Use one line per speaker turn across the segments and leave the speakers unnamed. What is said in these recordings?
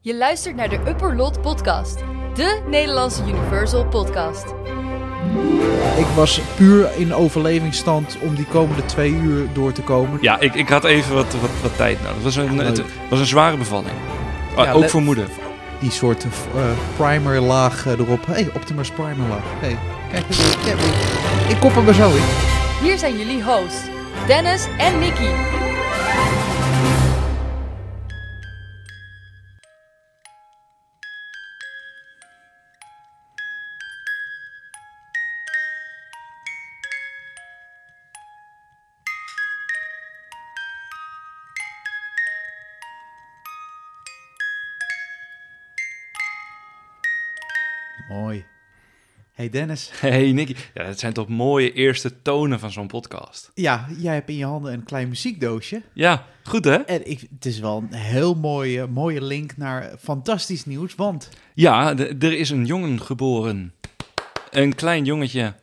Je luistert naar de Upper Lot Podcast, de Nederlandse Universal Podcast.
Ik was puur in overlevingsstand om die komende twee uur door te komen.
Ja, ik, ik had even wat, wat, wat tijd nodig. Het was een,
Leuk.
het was een zware bevalling. Ah,
Ja,
ook
let-
voor moeder.
Die soort eh, primer laag eh, erop. Hé, hey, Optimus primer laag. Hey, kijk, kijk, ik kop hem er zo in.
Hier zijn jullie hosts, Dennis en Mickey.
Mooi. Hey Dennis.
Hey Nicky. Ja, dat zijn toch mooie eerste tonen van zo'n podcast.
Ja, jij hebt in je handen een klein muziekdoosje.
Ja, goed hè?
En ik, het is wel een heel mooie, mooie link naar fantastisch nieuws. Want
Ja, d- er is een jongen geboren. Een klein jongetje.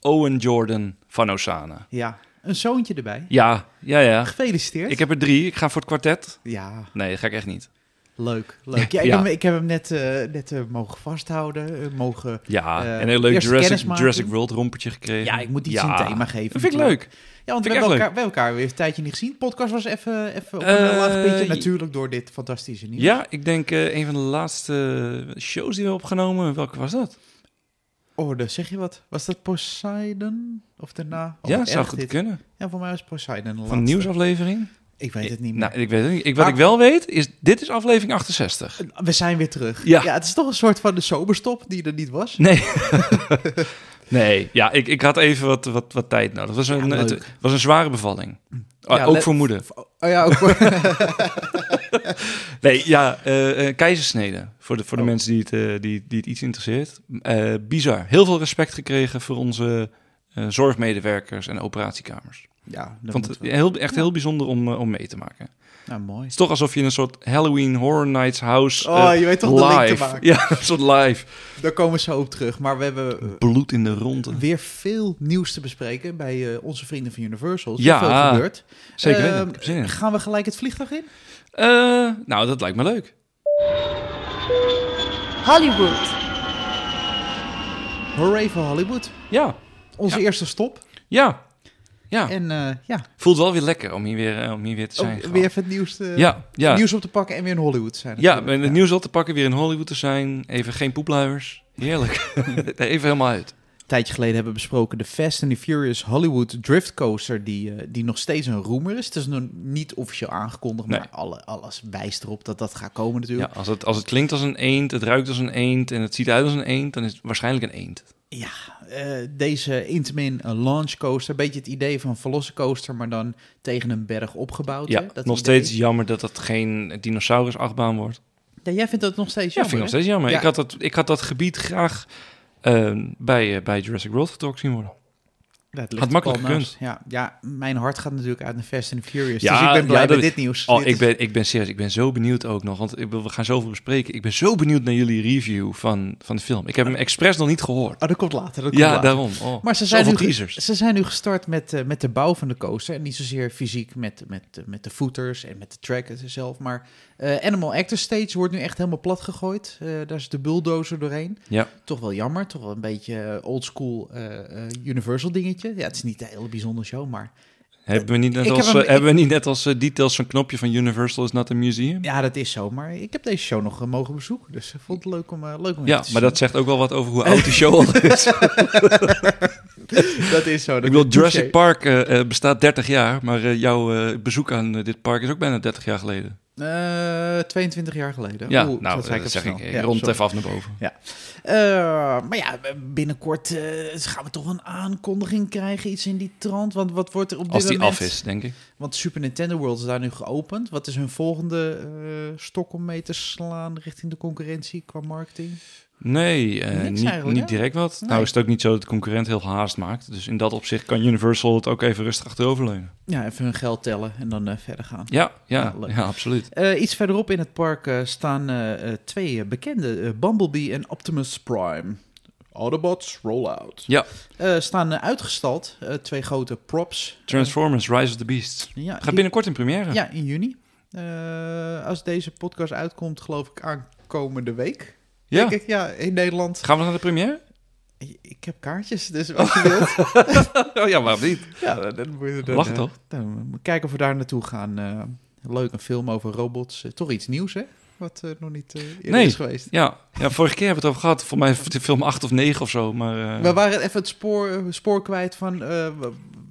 Owen Jordan van Osana.
ja, een zoontje erbij.
Ja, ja, ja.
Gefeliciteerd.
Ik heb er drie. Ik ga voor het kwartet.
Ja,
Nee, dat ga ik echt niet.
leuk. leuk. Ja, ik,
Ja.
Heb, hem- ik heb hem net, eh, net eh, mogen vasthouden, eh, mogen
Ja,
Eh,
en een leuk
eerste
Jurassic,
kennismaking.
Jurassic World rompertje gekregen.
Ja, ik moet iets
Ja.
een thema geven.
Dat vind ik leuk.
Ja, want we
Vind ik
hebben,
echt
elkaar, we hebben elkaar weer een tijdje niet gezien. De podcast was even, even op een
Eh,
laag pitje.
j-
Natuurlijk door dit fantastische nieuws.
Ja, ik denk eh, een van de laatste shows die we hebben opgenomen. Welke was dat?
Oh, daar zeg je wat. Was dat Poseidon? Of daarna? Oh,
ja,
wat
zou
erg
goed
dit.
kunnen.
Ja, voor mij was Poseidon de
Van een
laatste.
nieuwsaflevering?
Ik weet het niet meer. Ah.
Nou, ik weet het niet. Ik, wat ik
Maar-
wel weet, is dit is aflevering 68.
We zijn weer terug.
Ja.
het is toch een soort van de soberstop die er niet was.
Nee. nee, ja, ik, ik had even wat, wat, wat tijd nodig. Het was een,
Ja, leuk. Mm.
het was een zware bevalling. Ah,
Ja,
ook
let-
voor moeder.
Oh ja, ook voor...
Nee, ja, eh, eh, keizersnede. Voor de, voor de
Oh.
mensen die het, eh, die, die het iets interesseert. Eh, bizar. Heel veel respect gekregen voor onze eh, zorgmedewerkers en operatiekamers.
ja,
Ik
dat
vond
moet
het
wel.
heel, echt
Ja.
heel bijzonder om, eh, om mee te maken.
Nou, mooi.
Het is toch alsof je in een soort Halloween Horror Nights House
Oh,
eh,
je weet toch de link te
live-
maken.
Ja, een soort live.
Daar komen we zo op terug. Maar we hebben eh,
Bloed in de ronde.
weer veel nieuws te bespreken bij eh, onze vrienden van Universal.
Ja.
Ja. Veel gebeurd.
Zeker weten,
Ehm,
ik heb zin in.
Gaan we gelijk het vliegtuig in?
Eh, nou, dat lijkt me leuk.
Hollywood,
Hooray voor Hollywood.
Ja,
Onze
Ja.
eerste stop.
ja, ja.
En eh, ja,
Voelt wel weer lekker om hier weer, eh, om hier weer te
ook
zijn. gewoon.
weer even het nieuws, te-
ja, ja.
nieuws op te pakken en weer in Hollywood te zijn.
ja,
natuurlijk.
met het nieuws op te pakken, weer in Hollywood te zijn. Even geen poepluiers. Heerlijk. Even helemaal uit.
Een tijdje geleden hebben we besproken de Fast and the Furious Hollywood Drift Coaster, die, eh, die nog steeds een rumor is. Het is nog niet officieel aangekondigd, maar
Nee.
alle, alles wijst erop dat dat gaat komen
Ja,
natuurlijk.
als, het, als het klinkt als een eend, het ruikt als een eend en het ziet eruit als een eend, dan is het waarschijnlijk een eend.
Ja, eh, deze Intamin eh, Launch Coaster, een beetje het idee van een Velocicoaster, maar dan tegen een berg opgebouwd.
Ja,
hè? Dat
nog
idee.
steeds jammer dat dat geen dinosaurus-achtbaan wordt.
Ja, jij vindt dat nog steeds
Ja, vind ik
jammer,
nog
hè?
steeds jammer.
Ja.
Ik, had dat, ik had dat gebied graag eh, bij, eh, bij Jurassic World getrokken zien worden.
Ja, het
Had makkelijk
wel naast. Ja, ja, mijn hart gaat natuurlijk uit naar Fast and Furious.
Ja,
dus ik ben blij
ja, dat-
met dit nieuws.
Oh,
Dit
ik
is-
ben, ik ben serieus, ik ben zo benieuwd ook nog. Want ik wil- we gaan zoveel bespreken. Ik ben zo benieuwd naar jullie review van, van de film. Ik heb hem expres nog niet gehoord.
Oh, dat komt later. Dat komt
Ja,
later.
daarom. Oh,
Maar ze zijn,
zoveel
nu,
teasers.
ze zijn nu gestart met, eh, met de bouw van de coaster. En niet zozeer fysiek met, met, eh, met de voeters en met de track zelf. Maar eh, Animal Actor Stage wordt nu echt helemaal plat gegooid. Eh, daar is de bulldozer doorheen.
Ja.
Toch wel jammer. Toch wel een beetje oldschool eh, eh, Universal dingetje. Ja, het is niet een hele bijzondere show, maar...
Hebben we niet net
Ik heb
als,
hem-
eh,
ik-
hebben we niet net als eh, details zo'n knopje van Universal is not a museum? Ja,
Ja, dat is zo. Maar ik heb deze show nog eh, mogen bezoeken. Dus ik vond het leuk om, eh, leuk om even te
maar
zien.
dat zegt ook wel wat over hoe oud die show al is.
dat is zo. Dat
Ik bedoel,
is-
Jurassic Park eh, eh, bestaat 30 jaar, maar eh, jouw eh, bezoek aan eh, dit park is ook bijna 30 jaar geleden.
Eh, 22 jaar geleden.
Ja,
Oeh,
nou,
dat
dat,
zei ik
zeg
even
ik.
snel.
Ik
Ja,
rond
sorry.
even af naar boven.
Eh, maar ja, binnenkort eh, gaan we toch een aankondiging krijgen, iets in die trant. Want wat wordt er op dit
Als die
moment...
af is, denk ik.
Want Super Nintendo World is daar nu geopend. Wat is hun volgende eh, stok om mee te slaan richting de concurrentie qua marketing?
Nee, eh,
Niks
niet,
eigenlijk,
niet
hè?
direct wat.
Nee.
Nou is het ook niet zo dat de concurrent heel veel haast maakt. Dus in dat opzicht kan Universal het ook even rustig achteroverleunen.
Ja, even hun geld tellen en dan eh, verder gaan.
Ja, ja,
Ja,
ja,
leuk.
absoluut.
Eh, iets verderop in het park eh, staan eh, eh, twee eh, bekende, eh, Bumblebee en Optimus Prime. Autobots, rollout.
Ja.
Eh, staan eh, uitgestald, eh, twee grote props. Eh,
Transformers, Rise of the Beasts.
Ja,
Gaat binnenkort in première.
Ja, in juni. Eh, als deze podcast uitkomt, geloof ik aankomende week.
Ja.
Denk ik, ja, in Nederland.
Gaan we naar de première?
Ik heb kaartjes, dus wat je wilt.
Oh ja, waarom niet?
ja, dan moet je dan,
Lach
eh,
toch?
dan moeten we kijken of we daar naartoe gaan. Eh, leuk, een film over robots. Eh, toch iets nieuws, hè? Wat eh, nog niet eh eerder
Nee.
is geweest.
Ja. ja, vorige keer hebben we het over gehad. Voor mij is het film 8 of 9 of zo. Maar, eh,
We waren even het spoor, spoor kwijt van eh,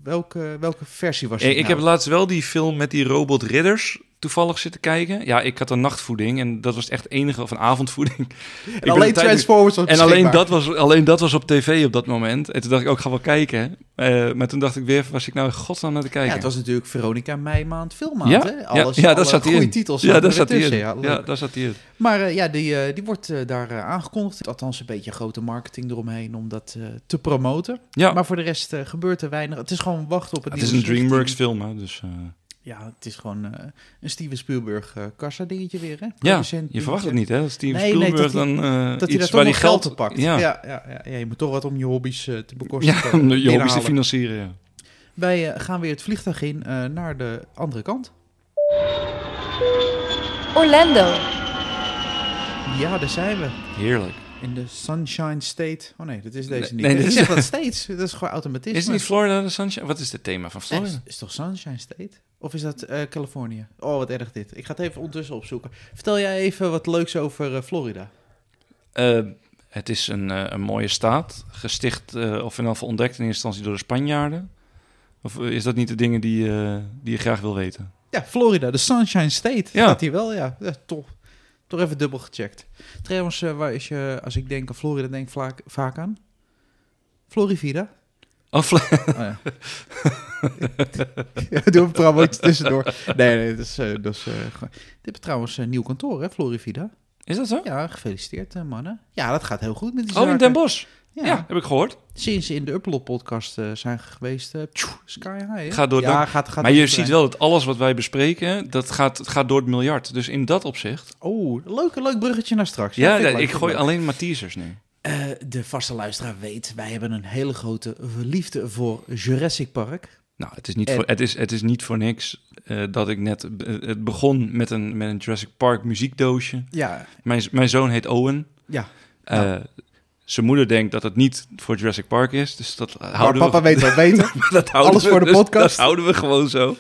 welke, welke versie was
Ja,
het
Eh, ik
nou?
heb laatst wel die film met die robot ridders toevallig zitten kijken. Ja, ik had een nachtvoeding en dat was echt het enige of een avondvoeding. Ik ben
en alleen
de tijd-
Transformers was
En alleen
beschikbaar.
dat, was, alleen dat was op tv op dat moment. En toen dacht ik ook, ga wel kijken. Eh, maar toen dacht ik weer, was ik nou in godsnaam naar te kijken?
Ja, het was natuurlijk Veronica Meimaand filmmaand,
Ja,
hè? Alles,
ja, ja,
alle
dat zat hij
goede
in.
titels
ja,
zaten
daar
er
zat hij in.
tussen,
Ja,
leuk.
daar zat hij in.
Maar eh, ja, die, eh, die wordt eh, daar eh, aangekondigd. Althans, een beetje grote marketing eromheen om dat eh, te promoten.
Ja,
Maar voor de rest eh, gebeurt er weinig. Het is gewoon wachten op het
het is een
nieuwe Sonic
DreamWorks
team.
film, hè, dus eh,
Ja, het is gewoon eh, een Steven Spielberg eh kassa dingetje weer, hè?
ja,
Producent
je
dingetje.
verwacht het niet, hè? Dat Steven
Nee, nee,
Spielberg
dat hij-
dan eh,
Dat hij
iets
daar toch
waar die
nog
geld
geld op pakt.
Ja, ja,
Ja, ja, ja, ja, je moet toch wat om je hobby's eh, te bekostigen.
ja om de- je hobby's te
binnenhalen.
financieren, ja.
Wij eh, gaan weer het vliegtuig in eh, naar de andere kant.
Orlando.
Ja, daar zijn we.
Heerlijk.
In de Sunshine State. Oh nee, dat is deze
Nee,
niet.
nee,
Nee,
dit
ik
is-
zeg dat steeds. Dat is gewoon automatisme.
Is het niet Florida de Sunshine? Wat is het thema van
Nee,
Florida?
is, is toch Sunshine State? Of is dat eh, Californië? Oh, wat erg dit. Ik ga het even ondertussen opzoeken. Vertel jij even wat leuks over eh, Florida.
Eh, het is een, eh, een mooie staat, gesticht eh, of in ieder geval ontdekt in eerste instantie door de Spanjaarden. Of eh, is dat niet de dingen die, eh, die je graag wil weten?
Ja, Florida, de Sunshine State.
Ja.
Staat hier wel, ja. ja top. Toch even dubbel gecheckt. Trouwens, eh, waar is je, als ik denk aan Florida, denk ik vaak, vaak aan? Florivida.
Oh, Fl-
Oh, ja. Ja, we doen een promotie tussendoor. Nee, nee, dat is... eh, dat is eh, gewoon- Dit hebben trouwens een nieuw kantoor, hè, Florivida.
is dat zo?
Ja, gefeliciteerd, eh, mannen. Ja, dat gaat heel goed met die
oh, in
zaken.
Den Bosch. Ja.
Ja.
heb ik gehoord.
Sinds ze in de Upload-podcast eh, zijn geweest, eh, tjoe, sky high. hè?
Gaat door
ja,
dak.
gaat, gaat
maar
door
je
de
ziet
trein.
wel dat alles wat wij bespreken, dat gaat, het gaat door het miljard. Dus in dat opzicht.
Oh, leuk, leuk bruggetje naar straks.
Ja,
vind
nee,
leuk,
ik
vind
gooi
leuk.
alleen maar teasers nu.
Eh, de vaste luisteraar weet, wij hebben een hele grote liefde voor Jurassic Park.
Nou, het is niet,
En-
voor, het is, het is niet voor niks eh, dat ik net... eh, het begon met een, met een Jurassic Park muziekdoosje.
Ja,
Mijn, mijn zoon heet Owen.
ja.
Eh, zijn moeder denkt dat het niet voor Jurassic Park is, dus dat
Maar
houden
papa
we.
weet wel beter.
dat houden
alles
we,
voor de
dus
podcast.
Dat houden we gewoon zo.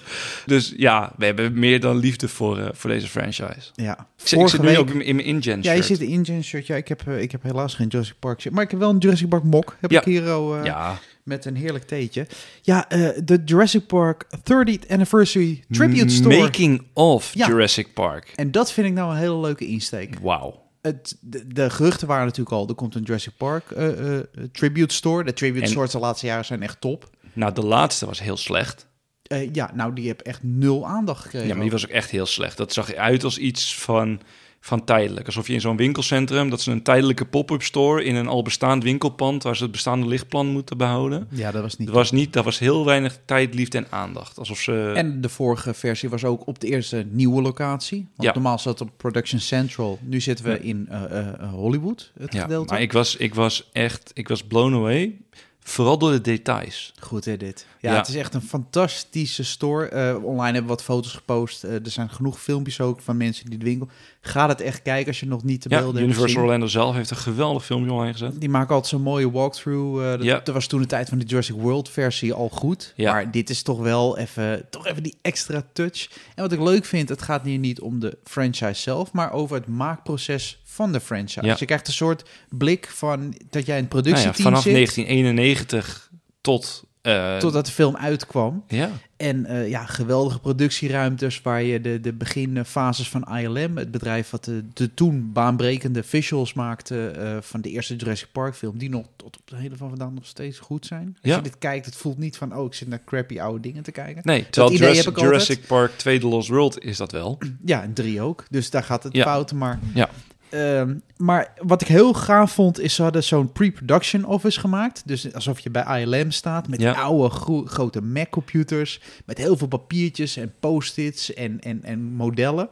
Dus ja, we hebben meer dan liefde voor, eh, voor deze franchise.
ja.
Ik zit, ik zit nu ook in, in mijn InGen
Ja, je
shirt.
zit in Indian shirt. Ja, ik heb, eh, ik heb helaas geen Jurassic Park shirt. Maar ik heb wel een Jurassic Park mok. Heb
Ja.
ik hier al eh,
ja,
met een heerlijk theetje. Ja, eh, de Jurassic Park 30th Anniversary Tribute Store.
Making of
Ja.
Jurassic Park.
En dat vind ik nou een hele leuke insteek.
Wauw.
Het, de, de geruchten waren natuurlijk al, er komt een Jurassic Park eh, eh, eh, Tribute Store. De Tribute
En-
Stores de laatste jaren zijn echt top.
Nou, de laatste was heel slecht.
Eh, ja, nou, die heb echt nul aandacht gekregen.
Ja, maar die was ook echt heel slecht. Dat zag uit als iets van, van tijdelijk. Alsof je in zo'n winkelcentrum, dat ze een tijdelijke pop-up store in een al bestaand winkelpand waar ze het bestaande lichtplan moeten behouden.
Ja, dat was niet.
Dat was niet, dat was heel weinig tijd, liefde en aandacht. Alsof ze.
En de vorige versie was ook op de eerste nieuwe locatie. Want
Ja.
normaal zat het op Production Central. Nu zitten we in eh, eh, eh, Hollywood, het
ja,
gedeelte.
maar ik was, ik was echt, ik was blown away. Vooral door de details.
Goed hè, dit. Ja,
Ja.
het is echt een fantastische store. Eh, online hebben we wat foto's gepost. Eh, er zijn genoeg filmpjes ook van mensen die de winkel... Ga dat echt kijken als je nog niet de
Ja,
beelden hebt
Universal
gezien.
Orlando zelf heeft een geweldig filmpje online gezet.
Die maken altijd zo'n mooie walkthrough. eh, dat,
Ja.
dat was toen de tijd van de Jurassic World versie al goed.
Ja.
Maar dit is toch wel even, toch even die extra touch. En wat ik leuk vind, het gaat hier niet om de franchise zelf, maar over het maakproces van de franchise.
Ja.
Je krijgt een soort blik van dat jij in het
Nou ja,
productieteam
vanaf
zit,
1991 tot. eh,
totdat de film uitkwam.
Ja,
En eh, ja, geweldige productieruimtes waar je de, de beginfases van ILM, het bedrijf wat de, de toen baanbrekende visuals maakte eh, van de eerste Jurassic Park film, die nog tot op de hele van vandaag nog steeds goed zijn. Als
Ja.
je dit kijkt, het voelt niet van, oh, ik zit naar crappy oude dingen te kijken.
nee. Terwijl
idee heb
Jurassic,
ik altijd.
Jurassic Park 2 The Lost World is dat wel.
Ja, en drie ook, dus daar gaat het
Ja.
fout, maar...
Ja.
Ehm, maar wat ik heel gaaf vond, is ze hadden zo'n pre-production office gemaakt. Dus alsof je bij ILM staat met
Ja.
oude gro- grote Mac-computers. Met heel veel papiertjes en post-its en, en, en modellen.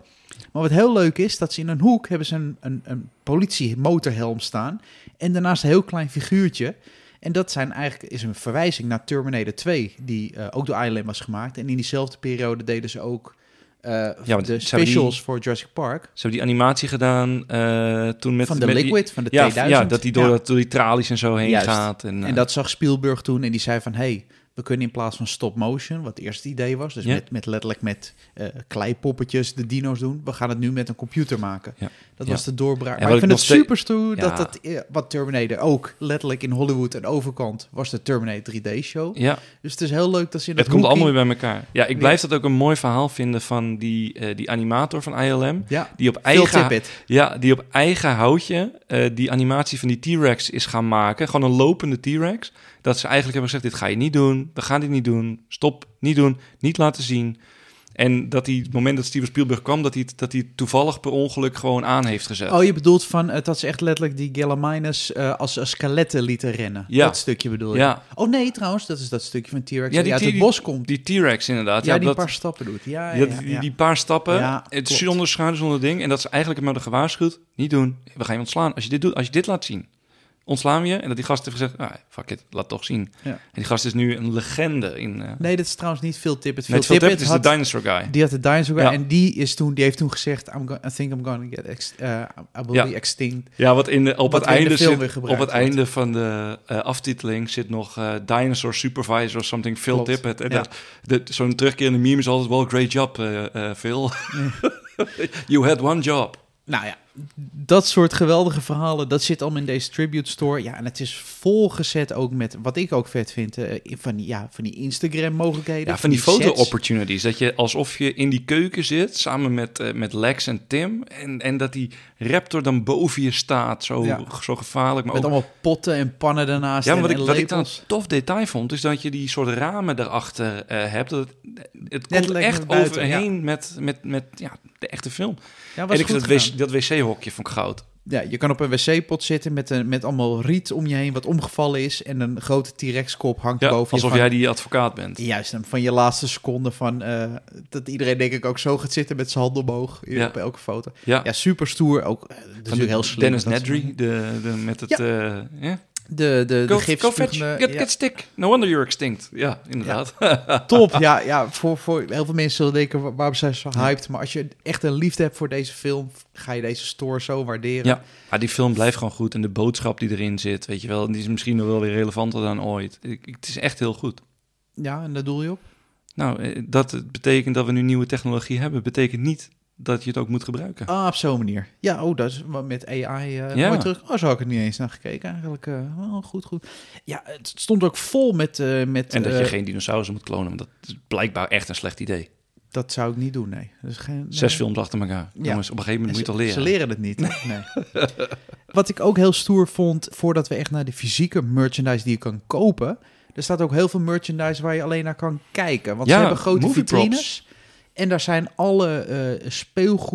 Maar wat heel leuk is, dat ze in een hoek hebben ze een, een, een politiemotorhelm staan. En daarnaast een heel klein figuurtje. En dat zijn eigenlijk, is een verwijzing naar Terminator 2, die eh, ook door ILM was gemaakt. En in diezelfde periode deden ze ook eh,
want
de
ze hebben
specials voor Jurassic Park.
Ze hebben die animatie gedaan eh, toen met...
van de
met die-
Liquid, van de
ja,
2000.
ja, dat hij door, dat- door die tralies en zo heen
Juist.
gaat. En, eh,
En dat zag Spielberg toen en die zei van... hey, we kunnen in plaats van stop motion, wat het eerste idee was... dus
Ja.
met, met letterlijk met eh, kleipoppetjes de dino's doen... we gaan het nu met een computer maken.
Ja.
Dat
Ja.
was de doorbraak.
En
maar ik
wat
vind
ik
het
nog
super stoer
Ja.
dat dat... eh, wat Terminator ook letterlijk in Hollywood en overkant... was de Terminator 3D-show.
ja,
Dus het is heel leuk dat ze in
het
dat
komt allemaal
hoekie-
weer bij elkaar. Ja, ik blijf dat ook een mooi verhaal vinden van die, eh, die animator van ILM.
Ja,
Die op
Phil
eigen,
Tippett.
Ja, die op eigen houtje eh, die animatie van die T-Rex is gaan maken. Gewoon een lopende T-Rex. Dat ze eigenlijk hebben gezegd, dit ga je niet doen. We gaan dit niet doen. Stop, niet doen. Niet laten zien. En dat hij, het moment dat Steven Spielberg kwam, dat hij, het- dat hij het toevallig per ongeluk gewoon aan heeft gezet.
Oh, je bedoelt van eh, dat ze echt letterlijk die Gallimimus eh, als, als skeletten lieten rennen.
Ja.
Dat stukje bedoel je?
ja,
Oh nee, trouwens, dat is dat stukje van T-Rex
Ja,
ja,
die
die uit
T-
het bos komt.
die T-Rex inderdaad.
ja, die
dat,
paar stappen doet. Ja, ja,
ja, die,
ja.
die paar stappen,
Ja,
het
klopt.
zonder schaduw, zonder ding. En dat ze eigenlijk hem hadden gewaarschuwd, niet doen. We gaan je ontslaan. Als je dit doet, als je dit laat zien, ontslaan we je. En dat die gast heeft gezegd, ah, fuck it, laat toch zien.
Ja.
En die gast is nu een legende in... eh
Nee, dat is trouwens niet Phil Tippett. Phil
Net veel
Tippett
Tippett is
had-
de dinosaur guy.
Die had de dinosaur
Ja.
en die, is toen, die heeft toen gezegd... I'm go- I think I'm gonna get ex- eh, I will
Ja.
be extinct.
Ja, wat in de, op
Wat
het
in de
einde
film
zit-
weer
op
gebruikt
het
wordt.
einde van de eh, aftiteling zit nog eh, dinosaur supervisor of something Phil
Klopt,
Tippett. En
ja.
dat, dat- zo'n terugkerende meme is altijd wel great job eh, eh, Phil. you had one job.
Nou ja, dat soort geweldige verhalen, dat zit allemaal in deze Tribute Store. Ja, en het is volgezet ook met, wat ik ook vet vind, eh, van, die, ja, van die Instagram-mogelijkheden.
Ja, van die
sets.
foto-opportunities. Dat je alsof je in die keuken zit samen met, eh, met Lex en Tim. En, en dat die raptor dan boven je staat. Zo,
Ja.
zo gevaarlijk. Maar
Met
ook
allemaal potten en pannen daarnaast
Ja, maar
en,
wat ik,
en
wat ik dan een
lepels.
tof detail vond, is dat je die soort ramen daarachter eh hebt. Dat het het komt
lekker
echt
naar buiten,
overheen met, met, met ja, de echte film.
Ja, was
en ik
goed
vind dat,
gedaan.
wc dat wc-hokje van goud.
Ja, je kan op een wc-pot zitten met, een, met allemaal riet om je heen wat omgevallen is. En een grote T-Rex-kop hangt
Ja,
boven
alsof
je.
jij
van-
die advocaat bent.
Juist, en van je laatste seconde van... eh, dat iedereen denk ik ook zo gaat zitten met zijn hand omhoog
Ja.
op elke foto.
Ja,
Ja, super stoer. Ook eh,
van
natuurlijk
de-
heel slim.
Dennis
dat-
Nedry, de, de, met het...
Ja.
eh, ja.
De, de,
Go,
de
go fetch,
gifspuugende...
get,
ja,
get stick. No wonder you're extinct. Ja, inderdaad.
top, ja. ja voor, voor heel veel mensen zullen denken, wa- waarom zijn ze zo hyped? Maar als je echt een liefde hebt voor deze film... ga je deze store zo waarderen.
Ja. Maar die film blijft gewoon goed. En de boodschap die erin zit, weet je wel. Die is misschien nog wel weer relevanter dan ooit. Ik- ik- het is echt heel goed.
ja en daar doel je op?
Nou, eh, dat het betekent dat we nu nieuwe technologie hebben, betekent niet dat je het ook moet gebruiken.
Ah, op zo'n manier. Ja, oh, dat is wat met AI eh
Ja.
mooi terug. Oh, zo had ik er niet eens naar gekeken eigenlijk. eh, oh, goed, goed. Ja, het stond ook vol met... eh, met
En dat je
eh,
geen dinosaurussen moet klonen, want dat is blijkbaar echt een slecht idee.
Dat zou ik niet doen, nee. Dus geen, nee.
Zes films achter elkaar.
Ja.
Jongens, op een gegeven
En
moment moet je
ze-
het al leren.
Ze leren het niet. Nee. Wat ik ook heel stoer vond, voordat we echt naar de fysieke merchandise die je kan kopen... Er staat ook heel veel merchandise waar je alleen naar kan kijken. Want
Ja,
ze hebben grote
movie props.
vitrines. En daar zijn alle eh,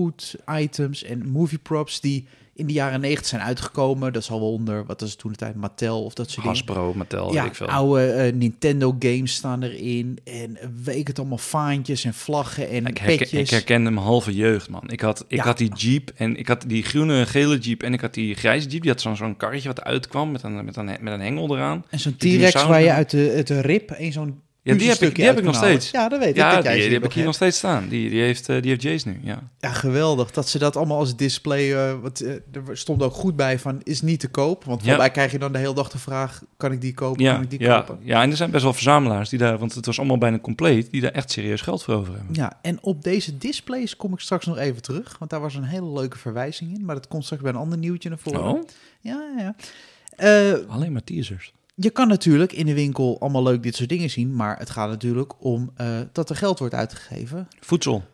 speelgoed-items en movieprops die in de jaren negentig zijn uitgekomen. Dat is al onder, wat was het toen de tijd, Mattel of dat soort dingen.
Hasbro, Mattel, weet
Ja,
ik veel.
oude eh, Nintendo games staan erin. En eh, weet het allemaal, faantjes en vlaggen en
Ik, herken, ik
petjes.
herkende mijn halve jeugd, man. Ik had, ik
Ja.
had die jeep en ik had die groene en gele jeep en ik had die grijze jeep. Die had zo'n zo'n karretje wat uitkwam met een, met een, met een hengel eraan.
En zo'n
Die
T-Rex waar je
dinosaurus-
uit de, uit de rib een zo'n
Ja, die heb ik,
puzzelstukje
die heb
uit
ik nog
kan halen.
steeds.
Ja, dat weet ik.
Ja,
dat
die,
jij
die
ze
heb ik
nog
hier nog
hebt.
steeds staan. Die, die, heeft, eh, die heeft Jace nu, ja.
Ja, geweldig dat ze dat allemaal als display... eh wat, eh, er stond ook goed bij van, is niet te koop. Want
Ja.
daarbij krijg je dan de hele dag de vraag... kan ik die kopen, kan ik die
ja,
kopen?
ja, en er zijn best wel verzamelaars die daar, want het was allemaal bijna compleet, die daar echt serieus geld voor over hebben.
Ja, en op deze displays kom ik straks nog even terug. Want daar was een hele leuke verwijzing in. Maar dat komt straks bij een ander nieuwtje naar voren.
Oh,
Ja, ja, ja. Eh,
alleen maar teasers.
je kan natuurlijk in de winkel allemaal leuk dit soort dingen zien. Maar het gaat natuurlijk om eh, dat er geld wordt uitgegeven.
Voedsel.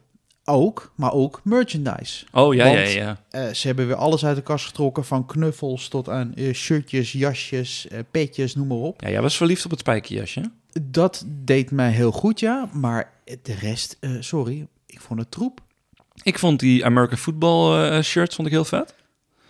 Ook, maar ook merchandise.
Oh ja,
Want-
ja, ja.
Eh, ze hebben weer alles uit de kast getrokken. Van knuffels tot aan eh, shirtjes, jasjes, eh, petjes, noem maar op.
Ja, jij was verliefd op het spijkerjasje.
Dat deed mij heel goed, ja. Maar de rest, eh, sorry, ik vond het troep.
Ik vond die American Football eh shirt vond ik heel vet.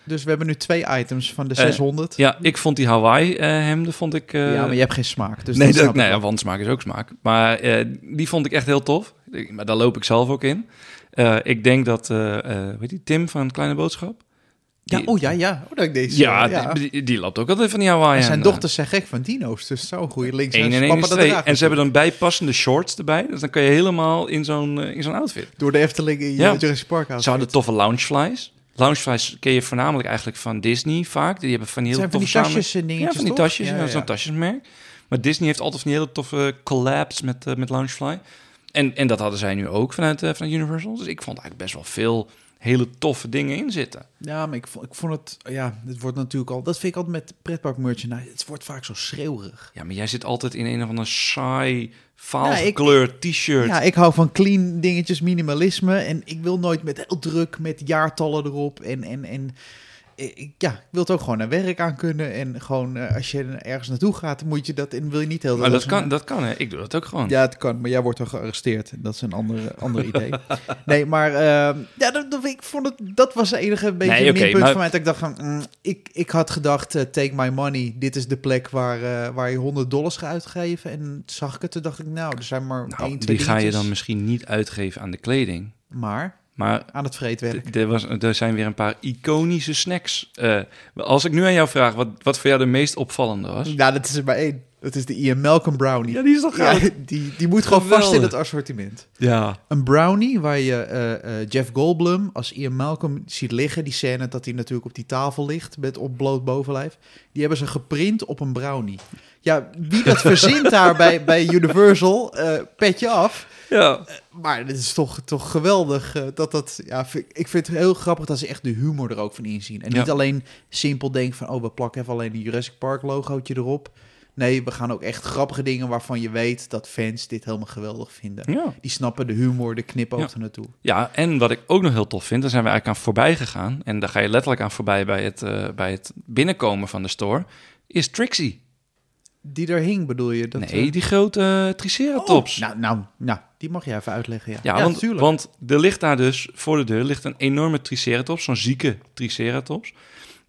Dus we hebben nu twee items van de
Eh,
600.
Ja, ik vond die Hawaii eh, hemden vond ik. eh,
ja, maar je hebt geen smaak. Dus
nee,
dat
dat,
snap ik
nee, ja,
wel.
want smaak is ook smaak. Maar eh, die vond ik echt heel tof. Ik- Maar daar loop ik zelf ook in. Eh, ik denk dat, eh eh, hoe heet die, Tim van Kleine Boodschap?
Ja,
Die-
oh ja, ja. Oh, dat ik deze.
ja, Die, die- die loopt ook altijd van die Hawaii.
En zijn dochters zijn gek van dino's, dus zo'n goede links.
1
en
en 1
papa
is
dat
2.
draagt.
En ze hebben dan bijpassende shorts erbij. Dus dan kun je helemaal in zo'n eh, in zo'n outfit.
Door de Efteling in
Ja.
ja. Jurassic Park
Ze hadden toffe loungeflies. Loungeflies ken je voornamelijk eigenlijk van Disney vaak. Die hebben van die
Het
hele
zijn van die
toffe samen-
tasjes en
Ja,
dingetjes,
van die
toch?
tasjes. Ja, Zo'n tasjesmerk. Maar Disney heeft altijd van die hele toffe collabs met, eh, met Loungefly. En, en dat hadden zij nu ook vanuit, eh, vanuit Universal. Dus ik vond eigenlijk best wel veel hele toffe dingen in zitten.
Ja, maar ik vond, ik vond het... Ja, het wordt natuurlijk al... Dat vind ik altijd met pretpark merchandise. Het wordt vaak zo schreeuwerig.
Ja, maar jij zit altijd in een of ander saai,
Ja, ik-
vaalgekleurd t-shirt.
Ja, ik hou van clean dingetjes, minimalisme. En ik wil nooit met heel druk, met jaartallen erop. En, en, en eh, ik, ja, ik wil het ook gewoon naar werk aan kunnen. En gewoon eh, als je ergens naartoe gaat, moet je dat... En wil je niet heel
maar dat kan, dat kan, hè. Ik doe dat ook gewoon.
Ja, het kan, maar jij wordt dan gearresteerd. Dat is een ander, ander idee. Nee, maar ehm, ja, dat, dat- ik vond het, dat was het enige beetje
Nee, oké,
minpunt
maar-
van mij. Dat ik dacht van, mm, ik, ik had gedacht, eh, take my money. Dit is de plek waar, eh, waar je 100 dollars gaat uitgeven. En zag ik het, toen dacht ik, nou, er zijn maar
Nou,
één, twee
die ga je dan
dingetjes.
misschien niet uitgeven aan de kleding. Maar,
Maar
maar
aan het vreedwerk.
d- er, was, er zijn weer een paar iconische snacks. Eh, als ik nu aan jou vraag wat, wat voor jou de meest opvallende was.
Nou, dat is er maar één. Dat is de Ian Malcolm brownie.
die is toch
Ja, die, die moet gewoon vast in
Geweldig.
het assortiment.
Ja.
Een brownie waar je eh, eh, Jeff Goldblum als Ian Malcolm ziet liggen. Die scène dat hij natuurlijk op die tafel ligt met opbloot bovenlijf. Die hebben ze geprint op een brownie. Ja, wie dat verzint daar bij, bij Universal, eh pet je af.
ja.
Maar het is toch, toch geweldig eh, dat dat... Ja, vind- ik vind het heel grappig dat ze echt de humor er ook van inzien. En
Ja.
niet alleen simpel denken van... oh, we plakken even alleen een Jurassic Park logootje erop. Nee, we gaan ook echt grappige dingen waarvan je weet... dat fans dit helemaal geweldig vinden.
Ja.
Die snappen de humor, de knipoog
Ja.
er naartoe.
ja, en wat ik ook nog heel tof vind, daar zijn we eigenlijk aan voorbij gegaan. En daar ga je letterlijk aan voorbij bij het, eh, bij het binnenkomen van de store. Is Trixie.
Die er hing, bedoel je? Dat,
nee,
eh,
die grote eh, Triceratops.
oh, nou, nou, nou, die mag je even uitleggen, ja.
Ja, want,
tuurlijk.
want er ligt daar dus voor de deur ligt een enorme triceratops, zo'n zieke triceratops.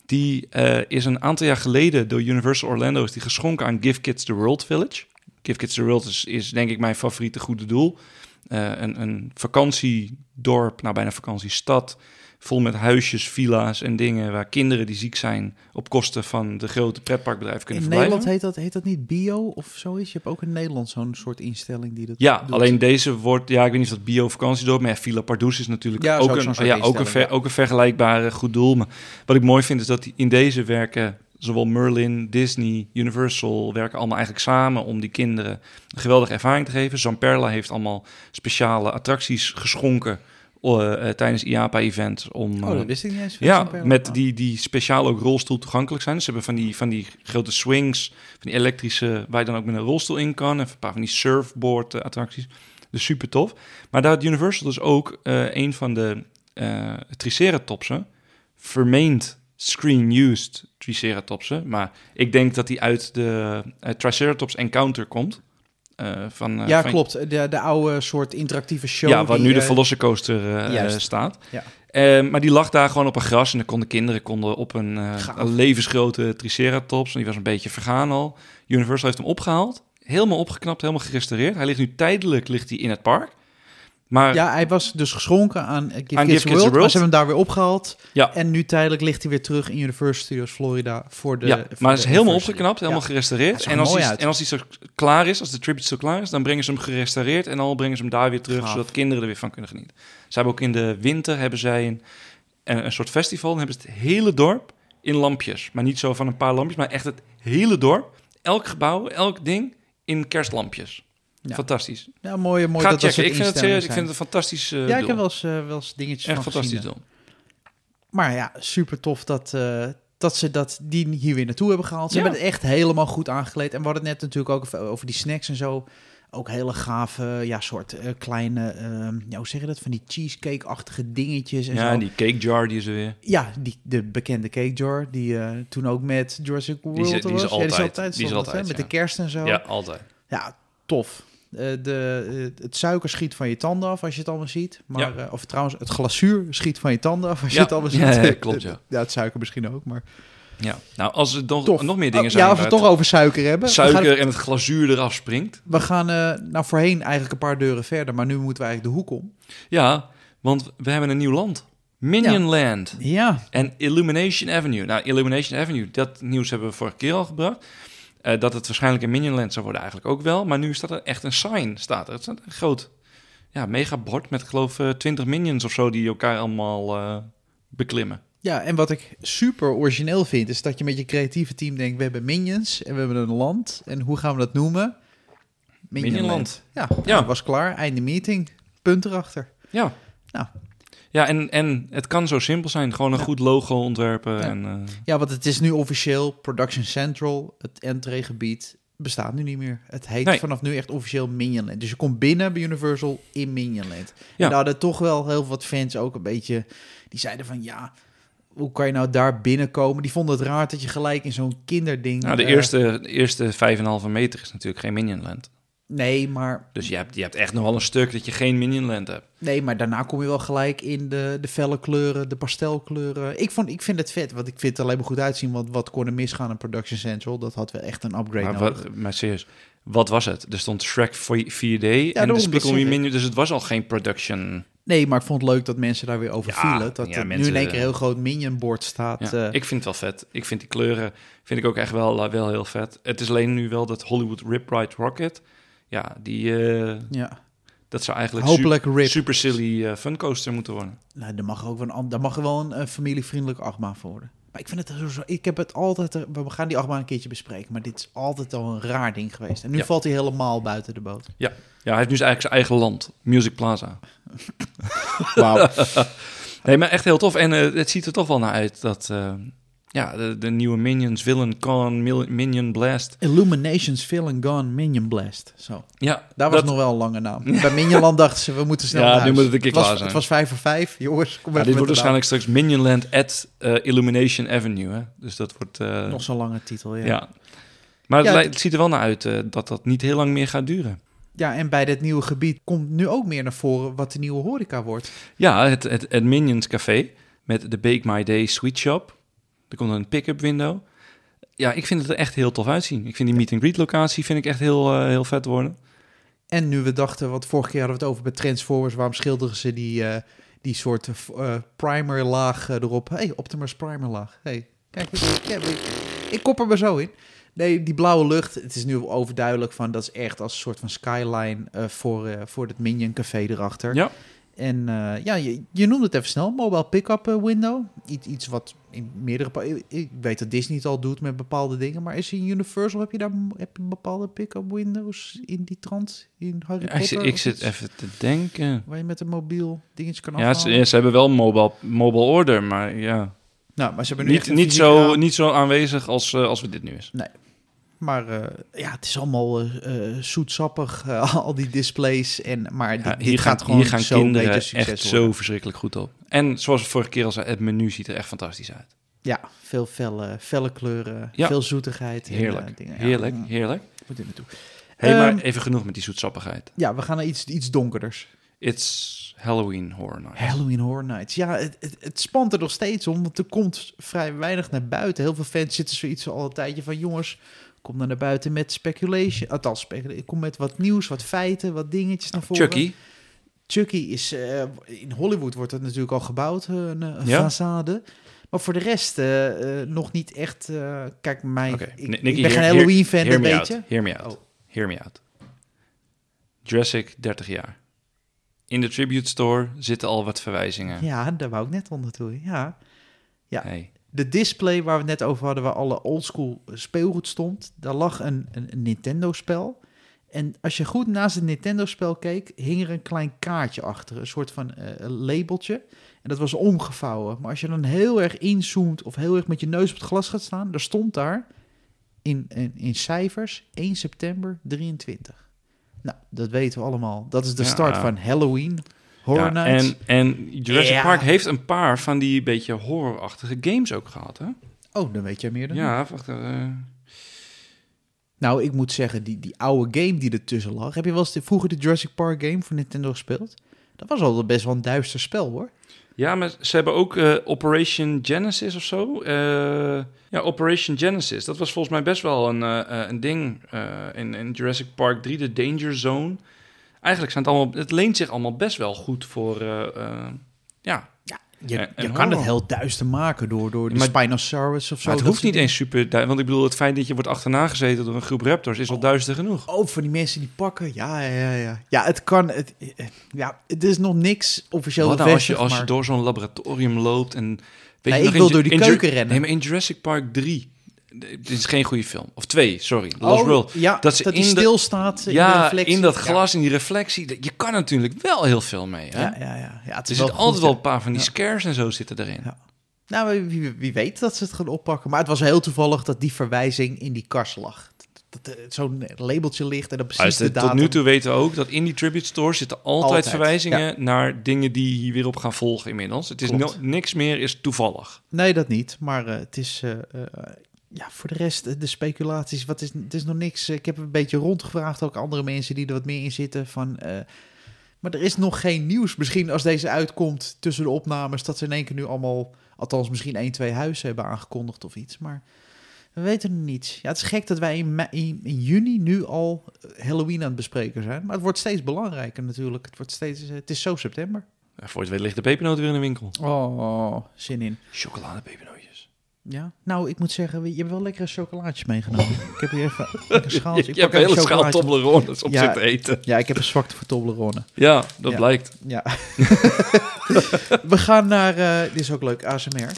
Die eh, is een aantal jaar geleden door Universal Orlando is die geschonken aan Give Kids the World Village. Give Kids the World is, is denk ik mijn favoriete goede doel. Eh, een, een vakantiedorp, nou bijna vakantiestad, vol met huisjes, villa's en dingen waar kinderen die ziek zijn op kosten van de grote pretparkbedrijven
In
kunnen verblijven.
Nederland heet dat, heet dat niet bio of zoiets? Je hebt ook in Nederland zo'n soort instelling die dat
Ja,
doet.
alleen deze wordt, ja, ik weet niet of dat bio vakantiedorp, maar ja, Villa Pardoes is natuurlijk
Ja, is
ook,
ook zo'n
een,
soort
ja, ook, een
instelling,
ver,
ja.
ook een vergelijkbare goed doel. Maar wat ik mooi vind is dat die, in deze werken zowel Merlin, Disney, Universal werken allemaal eigenlijk samen om die kinderen een geweldige ervaring te geven. Zamperla heeft allemaal speciale attracties geschonken eh, eh, tijdens IAPA-event om
Oh,
eh,
dat wist ik niet eens.
ja,
Zo'n
met
perl.
die, die speciaal ook rolstoel toegankelijk zijn. Dus ze hebben van die, van die grote swings, van die elektrische, waar je dan ook met een rolstoel in kan. En een paar van die surfboard eh, attracties. Dus super tof. Maar daar had Universal dus ook eh, een van de eh, triceratopsen, vermeend screen-used triceratopsen. Maar ik denk dat die uit de eh, Triceratops Encounter komt. Eh, van, eh,
ja,
van-
klopt. De, de oude soort interactieve show.
ja, wat
die,
nu de
eh,
Velocicoaster eh,
juist.
eh, staat.
Ja.
Eh, maar die lag daar gewoon op een gras en dan konden kinderen konden op een, eh,
Gaaf.
een levensgrote triceratops. En die was een beetje vergaan al. Universal heeft hem opgehaald, helemaal opgeknapt, helemaal gerestaureerd. Hij ligt nu tijdelijk ligt hij in het park. Maar
Ja, hij was dus geschonken aan eh, Give
Aan
Kids
Give Kids
the World.
the World.
Maar ze hebben hem daar weer opgehaald.
Ja.
En nu tijdelijk ligt hij weer terug in Universal Studios Florida voor de...
ja,
voor
maar
de
het is helemaal
Universal.
opgeknapt, helemaal
Ja.
gerestaureerd.
Het zag
en, als
er mooi
hij,
uit.
en als hij zo klaar is, als de tribute zo klaar is, dan brengen ze hem gerestaureerd en al brengen ze hem daar weer terug,
Gaaf.
zodat kinderen er weer van kunnen genieten. Ze hebben ook in de winter hebben zij een, een, een soort festival. Dan hebben ze het hele dorp in lampjes. Maar niet zo van een paar lampjes, maar echt het hele dorp. Elk gebouw, elk ding in kerstlampjes.
Ja.
Fantastisch.
Ja, mooi, mooi
Ga
dat dat
checken.
soort
Ik vind het
instellingen
serieus. Ik vind het een fantastisch eh,
zijn. Ja, ik
doel.
heb wel eens, eh, wel eens dingetjes
Echt
van gezien,
fantastisch
ja.
doel.
Maar ja, super tof dat, eh, dat ze dat, die hier weer naartoe hebben gehaald. Ze
Ja.
hebben het echt helemaal goed aangekleed. En we hadden het net natuurlijk ook over, over die snacks en zo. Ook hele gave, ja, soort eh, kleine, ehm, ja, hoe zeg je dat? Van die cheesecake-achtige dingetjes en
Ja,
zo.
die cake jar die is er weer.
Ja, die, de bekende cake jar, die eh, toen ook met Jurassic World
is-
was.
die is
Ja,
altijd- die
stond
is
dat, hè,
altijd,
Met
ja.
de kerst en zo.
Ja, altijd.
Ja, tof. Eh, de, eh, het suiker schiet van je tanden af als je het allemaal ziet. Maar, eh, of trouwens, het glazuur schiet van je tanden af als
Ja.
je het allemaal ziet.
Ja, ja, klopt, ja.
ja, het suiker misschien ook, maar...
Ja. Nou, als er nog,
Tof.
nog meer dingen
Oh,
zijn...
Ja, als we
waar
het toch over suiker hebben. We gaan,
suiker en het glazuur eraf springt.
we gaan eh, nou voorheen eigenlijk een paar deuren verder, maar nu moeten we eigenlijk de hoek om.
Ja, want we hebben een nieuw land. Minion Land
Ja,
en Illumination Avenue. Nou, Illumination Avenue, dat nieuws hebben we vorige keer al gebracht. Eh, dat het waarschijnlijk een Minion Land zou worden eigenlijk ook wel. Maar nu staat er echt een sign, staat er. Het staat een groot ja, megabord met geloof ik 20 minions of zo die elkaar allemaal eh, beklimmen.
Ja, en wat ik super origineel vind, is dat je met je creatieve team denkt: we hebben minions en we hebben een land. En hoe gaan we dat noemen?
Minionland.
Ja,
Ja.
ja, was klaar. Einde meeting. Punt erachter.
Ja.
Nou.
Ja, en, en het kan zo simpel zijn. Gewoon een goed logo ontwerpen.
Ja.
En, eh,
Ja, want het is nu officieel Production Central, het entreegebied, bestaat nu niet meer. Het heet
Nee.
vanaf nu echt officieel Minionland. Dus je komt binnen bij Universal in Minionland.
Ja.
En daar hadden toch wel heel wat fans ook een beetje... Die zeiden van, ja, hoe kan je nou daar binnenkomen? Die vonden het raar dat je gelijk in zo'n kinderding...
nou, de
eh,
eerste, de eerste 5,5 meter is natuurlijk geen Minion Land.
Nee maar,
Dus je hebt, je hebt echt nog wel een stuk dat je geen Minion Land hebt.
nee, maar daarna kom je wel gelijk in de, de felle kleuren, de pastelkleuren. Ik, vond, ik vind het vet, want ik vind het alleen maar goed uitzien. Want wat kon er misgaan aan Production Central? Dat had wel echt een upgrade
Maar,
nodig.
wat, maar serieus, wat was het? Er stond Shrek 4- 4D
daarom,
en de
dat
Spiegel
zeg ik.
Minion. Dus het was al geen production.
Nee, maar ik vond het leuk dat mensen daar weer over
Ja,
vielen. Dat
ja,
er nu
mensen- eh,
in één keer een heel groot minionbord staat.
Ja,
eh,
ik vind het wel vet. Ik vind die kleuren vind ik ook echt wel, eh, wel heel vet. Het is alleen nu wel dat Hollywood Rip Ride Rocket. Ja, die, eh,
ja.
dat zou eigenlijk su-
Hopelijk RIP.
super silly eh, funcoaster moeten worden.
Nou, daar mag ook wel een, an- daar mag wel een, eh, familievriendelijk achtbaan voor worden. Maar ik vind het zo, zo ik heb het altijd, er- we gaan die achtbaan een keertje bespreken, maar dit is altijd al een raar ding geweest. En nu
Ja.
valt hij helemaal buiten de boot.
Ja, hij heeft nu eigenlijk zijn eigen land. Music Plaza.
Wauw.
Nee, maar echt heel tof. En eh, het ziet er toch wel naar uit dat... eh, ja, de, de nieuwe Minions, Villain Con, Mil- Minion Blast.
Illuminations Villain Gone Minion Blast. Zo.
Ja,
Daar was
dat-
nog wel een lange naam. Bij Minionland dachten ze, we moeten snel
Ja,
naar
nu
huis.
moet het een keer
het was,
klaar zijn.
Het was vijf voor vijf. Jongens, kom even
ja, dit wordt
met de naam.
waarschijnlijk straks Minionland at eh, Illumination Avenue. Hè? Dus dat wordt... eh,
Nog zo'n lange titel,
ja. Maar het,
Ja,
lijkt- het ziet er wel naar uit eh, dat dat niet heel lang meer gaat duren.
Ja, en bij dit nieuwe gebied komt nu ook meer naar voren wat de nieuwe horeca wordt.
Ja, het, het, het Minions Café met de Bake My Day Sweet Shop. Er komt een pick-up window. Ja, ik vind het er echt heel tof uitzien. Ik vind die meet-and-greet locatie vind ik echt heel, eh, heel vet worden.
En nu we dachten, want vorige keer hadden we het over bij Transformers, waarom schilderen ze die, eh, die soort eh, v- eh, primer laag eh, erop? Hé, hey, Optimus primer laag. Hey, kijk, ik, ja, ik- ik kop er maar zo in. Nee, die blauwe lucht, het is nu overduidelijk van, dat is echt als een soort van skyline eh, voor, eh, voor het Minion Café erachter.
Ja.
En eh, ja, je, je noemde het even snel, mobile pick-up eh, window. Iets, iets wat in meerdere... pa- Ik, ik weet dat Disney het al doet met bepaalde dingen, maar is in Universal, heb je daar heb je bepaalde pick-up windows in die trant? In Harry
ik, zit,
Potter?
ik
of
zit
iets?
even te denken.
Waar je met een mobiel dingetje kan
Ja,
afhalen?
ze, ze hebben wel mobile, mobile order, maar ja.
nou, maar ze hebben nu echt
Niet,
een
niet,
fysieke
zo,
raam.
niet zo aanwezig als, eh, als we dit nu is.
Maar eh, ja, het is allemaal eh, eh, zoetsappig, eh, al die displays. En, maar
Ja,
dit, dit
hier
gaat
gaan,
gewoon
hier gaan
zo'n
kinderen
beetje
echt
succes worden.
zo verschrikkelijk goed op. En zoals we vorige keer al zei, het menu ziet er echt fantastisch uit.
Ja, veel felle, felle kleuren,
Ja.
veel zoetigheid. en,
Heerlijk,
eh, dingen. Ja,
heerlijk,
mm,
heerlijk.
moet er naartoe.
Hé, hey,
Ehm,
maar even genoeg met die zoetsappigheid.
Ja, we gaan naar iets, iets donkerders.
It's Halloween Horror Night.
Halloween Horror Nights. Ja, het, het, het spant er nog steeds om, want er komt vrij weinig naar buiten. Heel veel fans zitten zoiets al een tijdje van... jongens, kom dan naar buiten met speculation. Althans, specula- kom met wat nieuws, wat feiten, wat dingetjes naar voren.
Chucky,
Chucky is... eh, in Hollywood wordt dat natuurlijk al gebouwd, eh, een, een
Ja.
façade. Maar voor de rest eh, eh, nog niet echt... eh, kijk, mij,
Oké,
ik,
Nicky,
ik ben
hear-
geen Halloween-fan,
hear
dat
me
weet
out,
je.
Hear me out,
Oh.
hear me out. Jurassic, 30 jaar. In de Tribute Store zitten al wat verwijzingen.
Ja, daar wou ik net onder toe. Ja, ja.
Hey.
De display waar we het net over hadden, waar alle oldschool speelgoed stond, daar lag een, een, een Nintendo-spel. En als je goed naast het Nintendo-spel keek, hing er een klein kaartje achter, een soort van eh, een labeltje. En dat was omgevouwen. Maar als je dan heel erg inzoomt of heel erg met je neus op het glas gaat staan, er stond daar in, in, in cijfers 1 september 23. Nou, dat weten we allemaal. Dat is de
Ja.
start van Halloween, Horror
Ja,
Nights.
en, en Jurassic
Ja.
Park heeft een paar van die beetje horrorachtige games ook gehad, hè?
Oh, dan weet jij meer dan ik.
Ja, wacht. eh,
Nou, ik moet zeggen, die, die oude game die ertussen lag. Heb je wel eens de, vroeger de Jurassic Park game van Nintendo gespeeld? Dat was al best wel een duister spel hoor.
Ja, maar ze hebben ook eh, Operation Genesis of zo. Eh, ja, Operation Genesis. Dat was volgens mij best wel een, eh, eh, een ding eh, in, in Jurassic Park 3, de Danger Zone. Eigenlijk zijn het allemaal, het leent zich allemaal best wel goed voor, eh, eh, ja,
Ja, Je,
En-
je
en
kan het
horror.
heel duister maken door, door de
Maar-
Spinosaurus of zo.
Maar het
dat
hoeft
soort
niet eens super... du- Want ik bedoel, het feit dat je wordt achterna gezeten door een groep raptors is al duister genoeg.
Oh, van die mensen die pakken. Ja, ja, ja, ja. Ja, het kan. Het, eh, ja, het is nog niks officieel
Wat nou als je,
bevestigd,
als je
maar-
door zo'n laboratorium loopt en... Weet
Nee,
je
ik
nog
wil
in Ju-
door die
in Ju-
keuken rennen.
Nee, maar in Jurassic Park 3... Dit is geen goede film. Of 2, sorry. Lost
Oh,
World.
Ja,
Dat
dat,
ze
die
in de-
stilstaat in de
Ja,
reflectie.
in dat
Ja.
glas, in die reflectie. dat- Je kan natuurlijk wel heel veel mee. Hè?
Ja, ja, ja. ja. het
er
is
zit
wel goed,
altijd
hè.
wel een paar van die
Ja.
scares en zo zitten erin.
Ja. Nou, wie, wie weet dat ze het gaan oppakken. Maar het was heel toevallig dat die verwijzing in die kast lag. Dat, dat, eh, Zo'n labeltje ligt en dat
Maar
precies
het-
de datum.
tot nu toe weten we ook dat in die tribute stores zitten altijd,
Altijd,
verwijzingen naar dingen die hier weer op gaan volgen inmiddels. Het is
Klopt.
no- niks meer is toevallig.
Nee, dat niet. Maar eh, het is... eh, eh, ja, voor de rest, eh, de speculaties, wat is, het is nog niks. Eh, Ik heb een beetje rondgevraagd, ook andere mensen die er wat meer in zitten. Van, eh, maar er is nog geen nieuws. Misschien als deze uitkomt tussen de opnames, dat ze in één keer nu allemaal, althans misschien één, twee huizen hebben aangekondigd of iets. Maar we weten niets. Ja, het is gek dat wij in, mei- in, in juni nu al eh, Halloween aan het bespreken zijn. Maar het wordt steeds belangrijker natuurlijk. Het, wordt steeds, eh, het is zo september.
En voor het weet ligt de pepernoot weer in de winkel.
Oh, zin in.
Chocoladepepernootjes.
Ja, nou, ik moet zeggen, je hebt wel lekkere chocolaatjes meegenomen. Ik heb hier even een schaal.
Je, je hebt een hele schaal Toblerones op
Ja.
zitten eten.
Ja, ik heb een zwakte voor Toblerone.
Ja, dat
Ja.
blijkt.
Ja. We gaan naar, eh, dit is ook leuk, ASMR.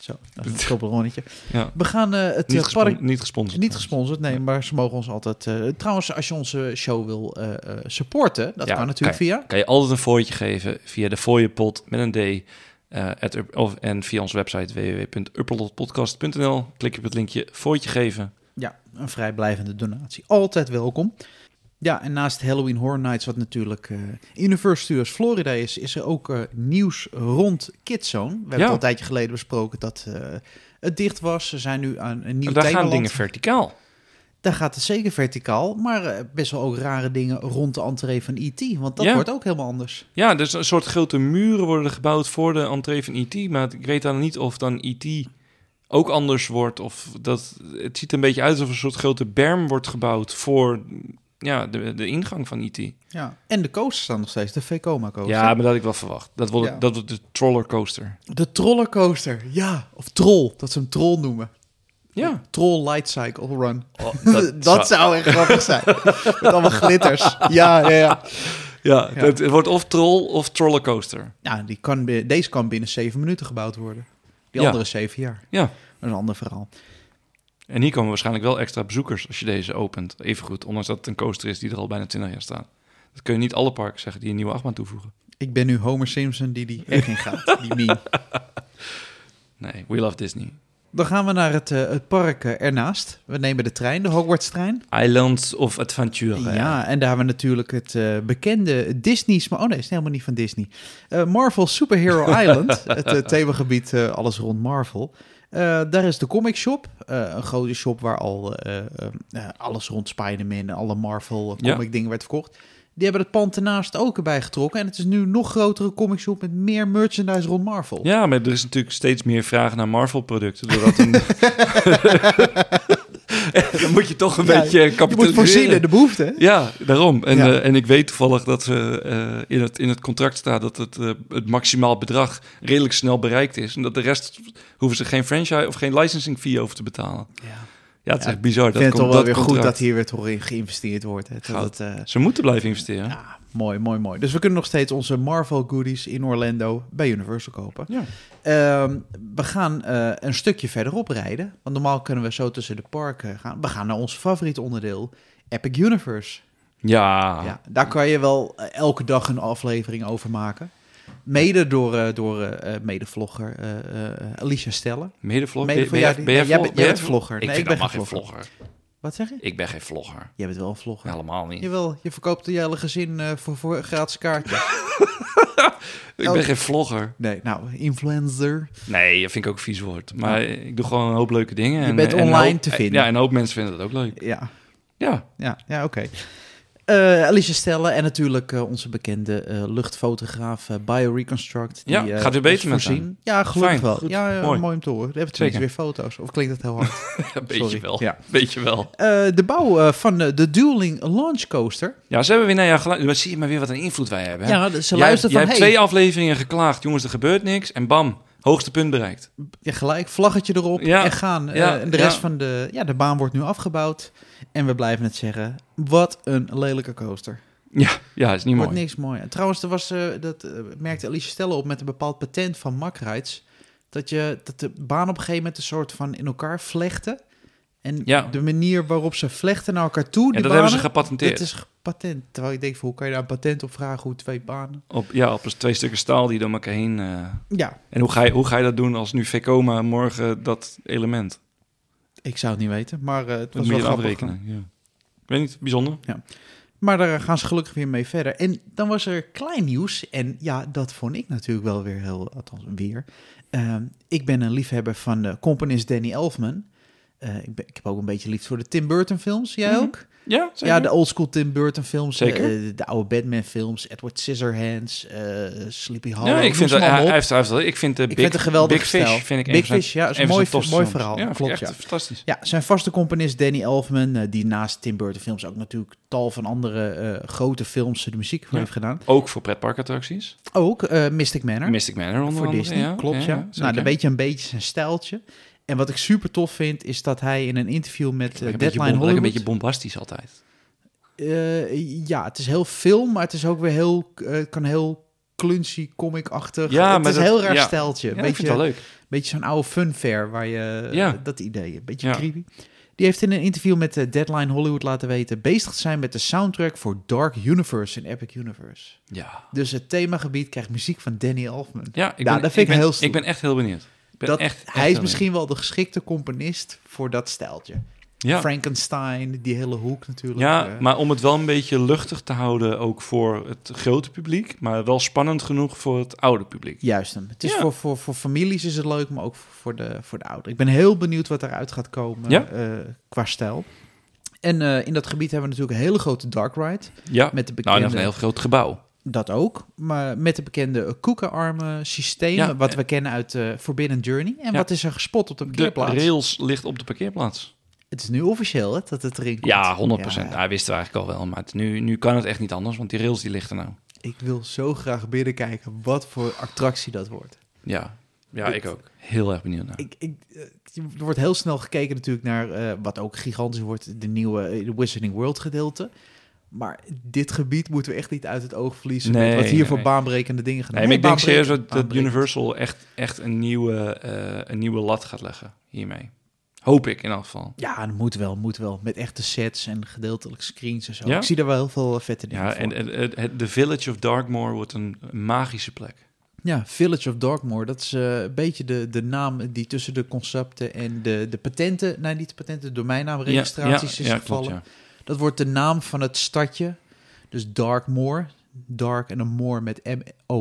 Zo, dat is een Tobleronnetje.
Ja.
We gaan eh, het
Niet,
eh,
gespon-
park...
niet gesponsord.
Niet gesponsord, nee, maar ze mogen ons altijd... eh, trouwens, als je onze show wil eh, eh, supporten, dat
Ja,
kan natuurlijk via...
Kan je altijd een fooitje geven via de fooienpot met een D. eh, at up- of, en via onze website www.upperlotpodcast.nl. Klik je op het linkje fooitje geven.
Ja, een vrijblijvende donatie. Altijd welkom. Ja, en naast Halloween Horror Nights, wat natuurlijk eh Universal Studios Florida is, is er ook eh, nieuws rond Kidzone. We hebben
Ja.
het al een tijdje geleden besproken dat eh, het dicht was. Ze zijn nu aan een nieuw
Daar gaan
themaland.
dingen verticaal.
Daar gaat het zeker verticaal, maar eh, best wel ook rare dingen rond de entree van E.T., want dat
Ja.
wordt ook helemaal anders.
Ja, dus een soort grote muren worden gebouwd voor de entree van E.T. Maar ik weet dan niet of dan E.T. ook anders wordt. Of dat, het ziet er een beetje uit alsof er een soort grote berm wordt gebouwd voor ja, de, de ingang van E.T.
Ja. En de coasters staan nog steeds, de Vekoma coaster.
Ja, maar dat had ik wel verwacht. Dat wordt,
Ja.
dat wordt de trollercoaster.
De trollercoaster, ja. Of troll, dat ze hem troll noemen.
Ja.
Troll Light Cycle Run.
dat
Oh, dat,
zou-
zou... echt grappig zijn. Met allemaal glitters. Ja, ja, ja.
Ja,
Ja.
Het, het wordt of troll of trollercoaster.
Nou, die kan, bi- deze kan binnen zeven minuten gebouwd worden. Die
Ja.
andere zeven jaar.
Ja.
Dat is een ander verhaal.
En hier komen waarschijnlijk wel extra bezoekers als je deze opent. Evengoed, ondanks dat het een coaster is die er al bijna 20 jaar staat. Dat kun je niet alle parken zeggen die een nieuwe achtbaan toevoegen.
Ik ben nu Homer Simpson die die echt in gaat. Die meme.
Nee, we love Disney.
Dan gaan we naar het, eh, het park eh, ernaast. We nemen de trein, de Hogwarts trein.
Islands of Adventure.
Ja, en daar hebben we natuurlijk het eh, bekende Disney's... Maar, oh nee, het is helemaal niet van Disney. Eh, Marvel Superhero Island, het eh, themagebied eh, alles rond Marvel. Eh, daar is de comic shop, eh, een grote shop waar al eh, eh, eh, alles rond Spider-Man... en alle Marvel eh,
Ja.
comic dingen werd verkocht. Die hebben het pand ernaast ook erbij getrokken. En het is nu een nog grotere comic shop met meer merchandise rond Marvel.
Ja, maar er is natuurlijk steeds meer vraag naar Marvel-producten. Doordat een... Dan moet je toch een
Ja,
beetje
Je
kapitaliseren.
moet voorzien in de behoefte, hè?
Ja, daarom. En,
Ja.
eh, en ik weet toevallig dat ze eh, in, het, in het contract staat dat het, eh, het maximaal bedrag redelijk snel bereikt is. En dat de rest hoeven ze geen franchise of geen licensing fee over te betalen. Ja, het is
Ja,
echt bizar.
Ik vind het
komt-
toch wel weer goed
contract.
dat hier weer toch in geïnvesteerd wordt. Hè? Dat
Goud.
het, eh,
Ze moeten blijven investeren. Ja.
Ja, mooi, mooi, mooi. Dus we kunnen nog steeds onze Marvel goodies in Orlando bij Universal kopen. Ehm, we gaan eh, een stukje verderop rijden. Want normaal kunnen we zo tussen de parken gaan. We gaan naar ons favoriet onderdeel, Epic Universe.
Ja.
Ja, daar kan je wel eh, elke dag een aflevering over maken. Mede door, eh, door eh eh, medevlogger eh, eh, Alicia Stellen.
Medevlog.
Mede
Ben-
voor
ben
jou die-
jij- ben jij
ja, jij
vlog-
bent-
ben
jij
jij
bent vlogger.
Ik
Nee,
vind
ik ben
helemaal geen
geen
vlogger.
Wat zeg je?
Ik ben geen vlogger.
Jij bent wel een vlogger.
Helemaal niet.
Jawel, je verkoopt je hele gezin eh, voor, voor een gratis kaartje.
Ik ben geen vlogger.
Nee, nou, influencer.
Nee, dat vind ik ook een vies woord. Maar ik doe gewoon een hoop leuke dingen.
Je
en,
bent
en
online
hoop-
te vinden.
Ja, en een hoop mensen vinden dat ook leuk.
Ja,
Ja.
Ja, ja oké. Eh Alicia Stelle en natuurlijk eh, onze bekende eh, luchtfotograaf eh, BioReconstruct. Die,
Ja,
eh,
gaat weer beter
ons
met
voorzien. Ja, gelukkig
Fijn,
wel.
goed,
ja, ja,
mooi.
mooi. om te horen. We hebben tenminste weer
Zeker.
foto's. Of klinkt dat heel hard?
Een
Sorry.
beetje wel.
Ja.
Beetje wel.
Eh, de bouw eh, van eh, de Dueling Launch Coaster.
Ja, ze hebben weer naar jou geluisterd. Maar zie je maar weer wat een invloed wij hebben. Hè?
Ja, ze
jij
luisteren van...
jij hebt
hey,
twee afleveringen geklaagd. Jongens, er gebeurt niks. En bam, hoogste punt bereikt.
ja, gelijk, vlaggetje erop
Ja,
en gaan. Eh,
ja,
en de rest
ja.
van de... Ja, de baan wordt nu afgebouwd. En we blijven het zeggen. Wat een lelijke coaster.
Ja, ja is niet
Wordt
mooi.
niks mooi. En trouwens, er was, eh, dat eh, merkte Alicia Stelle op met een bepaald patent van Makrides. Dat, je, dat de baan op een gegeven moment een soort van in elkaar vlechten. En
Ja.
de manier waarop ze vlechten naar elkaar toe,
En
die
dat hebben ze
banen,
gepatenteerd.
Dat is patent. Terwijl ik denk, van, hoe kan je daar een patent op vragen, hoe twee banen...
Op, ja, op eens twee stukken staal die door elkaar heen... eh,
Ja,
En hoe ga, je, hoe ga je dat doen als nu Vekoma morgen dat element?
ik zou het niet weten, maar eh, het
Dat
was
moet
wel
je
grappig.
afrekenen. Ja. Ik weet niet, bijzonder.
Maar daar gaan ze gelukkig weer mee verder. En dan was er klein nieuws. En ja, dat vond ik natuurlijk wel weer heel, althans weer. Ehm, ik ben een liefhebber van de componist Danny Elfman. Eh, ik, ben- ik heb ook een beetje liefde voor de Tim Burton films. Jij
Mhm.
ook?
Ja,
Ja, de oldschool Tim Burton films. eh,
Zeker.
eh, de oude Batman films. Edward Scissorhands. eh, Sleepy Hollow.
ja, ik vind,
noem
dat,
ze
hij,
allemaal
hij
op.
heeft, hij heeft, wel- ik vind de Big,
Ik vind het een geweldige
Big Fish
stijl.
vind ik een
Big
van zijn-
Fish, ja, is
een
een
van
mooi,
zijn tofste
mooi
films.
verhaal.
Ja, vind ik
Klopt,
echt
ja.
fantastisch.
Ja, zijn vaste componist Danny Elfman, eh, die naast Tim Burton films ook natuurlijk tal van andere eh, grote films de muziek voor
Ja.
heeft gedaan.
Ook voor pretparkattracties.
Ook eh, Mystic Manor.
Mystic Manor onder
voor
andere.
Disney,
ja.
klopt ja.
zeker.
nou, dan weet je een beetje zijn stijltje. En wat ik super tof vind, is dat hij in een interview met eh,
Lekker een beetje
Deadline
bom- lekker
Hollywood...
een beetje bombastisch altijd.
Eh, ja, het is heel film, maar het is ook weer heel, eh, het kan heel cluncy, comic-achtig.
Ja,
het
maar
is
dat-
een heel raar
ja.
stijltje.
Ja,
Een
ik vind het
beetje,
wel leuk.
beetje zo'n oude funfair, waar je eh,
Ja.
dat idee, een beetje
Ja.
creepy. Die heeft in een interview met eh, Deadline Hollywood laten weten bezig te zijn met de soundtrack voor Dark Universe en Epic Universe.
Ja,
Dus het themagebied krijgt muziek van Danny Elfman.
ja
Nou,
ik, ben,
dat vind ik
ben,
heel stoer.
Ik ben echt heel benieuwd. Ik ben
dat,
echt, echt
hij is
heel
misschien wel de geschikte componist voor dat stijltje.
benieuwd. ja.
Frankenstein, die hele hoek natuurlijk.
Ja,
eh.
maar om het wel een beetje luchtig te houden ook voor het grote publiek, maar wel spannend genoeg voor het oude publiek.
Juist hem. Het is
Ja.
voor, voor, voor families is het leuk, maar ook voor de, voor de ouderen. Ik ben heel benieuwd wat eruit gaat komen
Ja.
eh, qua stijl. En eh, in dat gebied hebben we natuurlijk een hele grote dark ride.
Ja,
Met de
nou,
bekende,
dat is een heel groot gebouw.
dat ook. Maar met de bekende koekenarmen systemen.
Ja,
wat
eh.
we kennen uit eh, Forbidden Journey. En
Ja.
wat is er gespot op de
De
parkeerplaats?
rails ligt op de parkeerplaats.
Het is nu officieel hè, dat het erin komt.
Ja, 100%.
Ja,
Hij wist het eigenlijk al wel, maar het- nu, nu kan het echt niet anders, want die rails die liggen er nou.
ik wil zo graag binnenkijken wat voor attractie dat wordt.
Ja, ja
Het-
ik ook. Heel erg benieuwd naar.
Ik, ik, eh, er wordt heel snel gekeken natuurlijk naar eh, wat ook gigantisch wordt, de nieuwe eh, de Wizarding World gedeelte. Maar dit gebied moeten we echt niet uit het oog verliezen.
Nee,
met wat hier
nee,
voor
nee.
baanbrekende dingen gedaan
nee, maar ik denk serieus
baanbrekend,
dat, dat
baanbrekend.
Universal echt, echt een, nieuwe, eh, een nieuwe lat gaat leggen hiermee. Hoop ik in elk geval.
Ja, dat moet wel, moet wel. Met echte sets en gedeeltelijk screens en zo.
Ja?
Ik zie daar wel heel veel eh, vette dingen
Ja,
voor.
en en- het- het- de Village of Darkmoor wordt een magische plek.
Ja, Village of Darkmoor, dat is eh, een beetje de, de naam die tussen de concepten en de, de patenten, nee niet de patenten, de domeinnaamregistraties is
klopt,
gevallen. Dat wordt de naam van het stadje. Dus Darkmoor. Dark en een moor met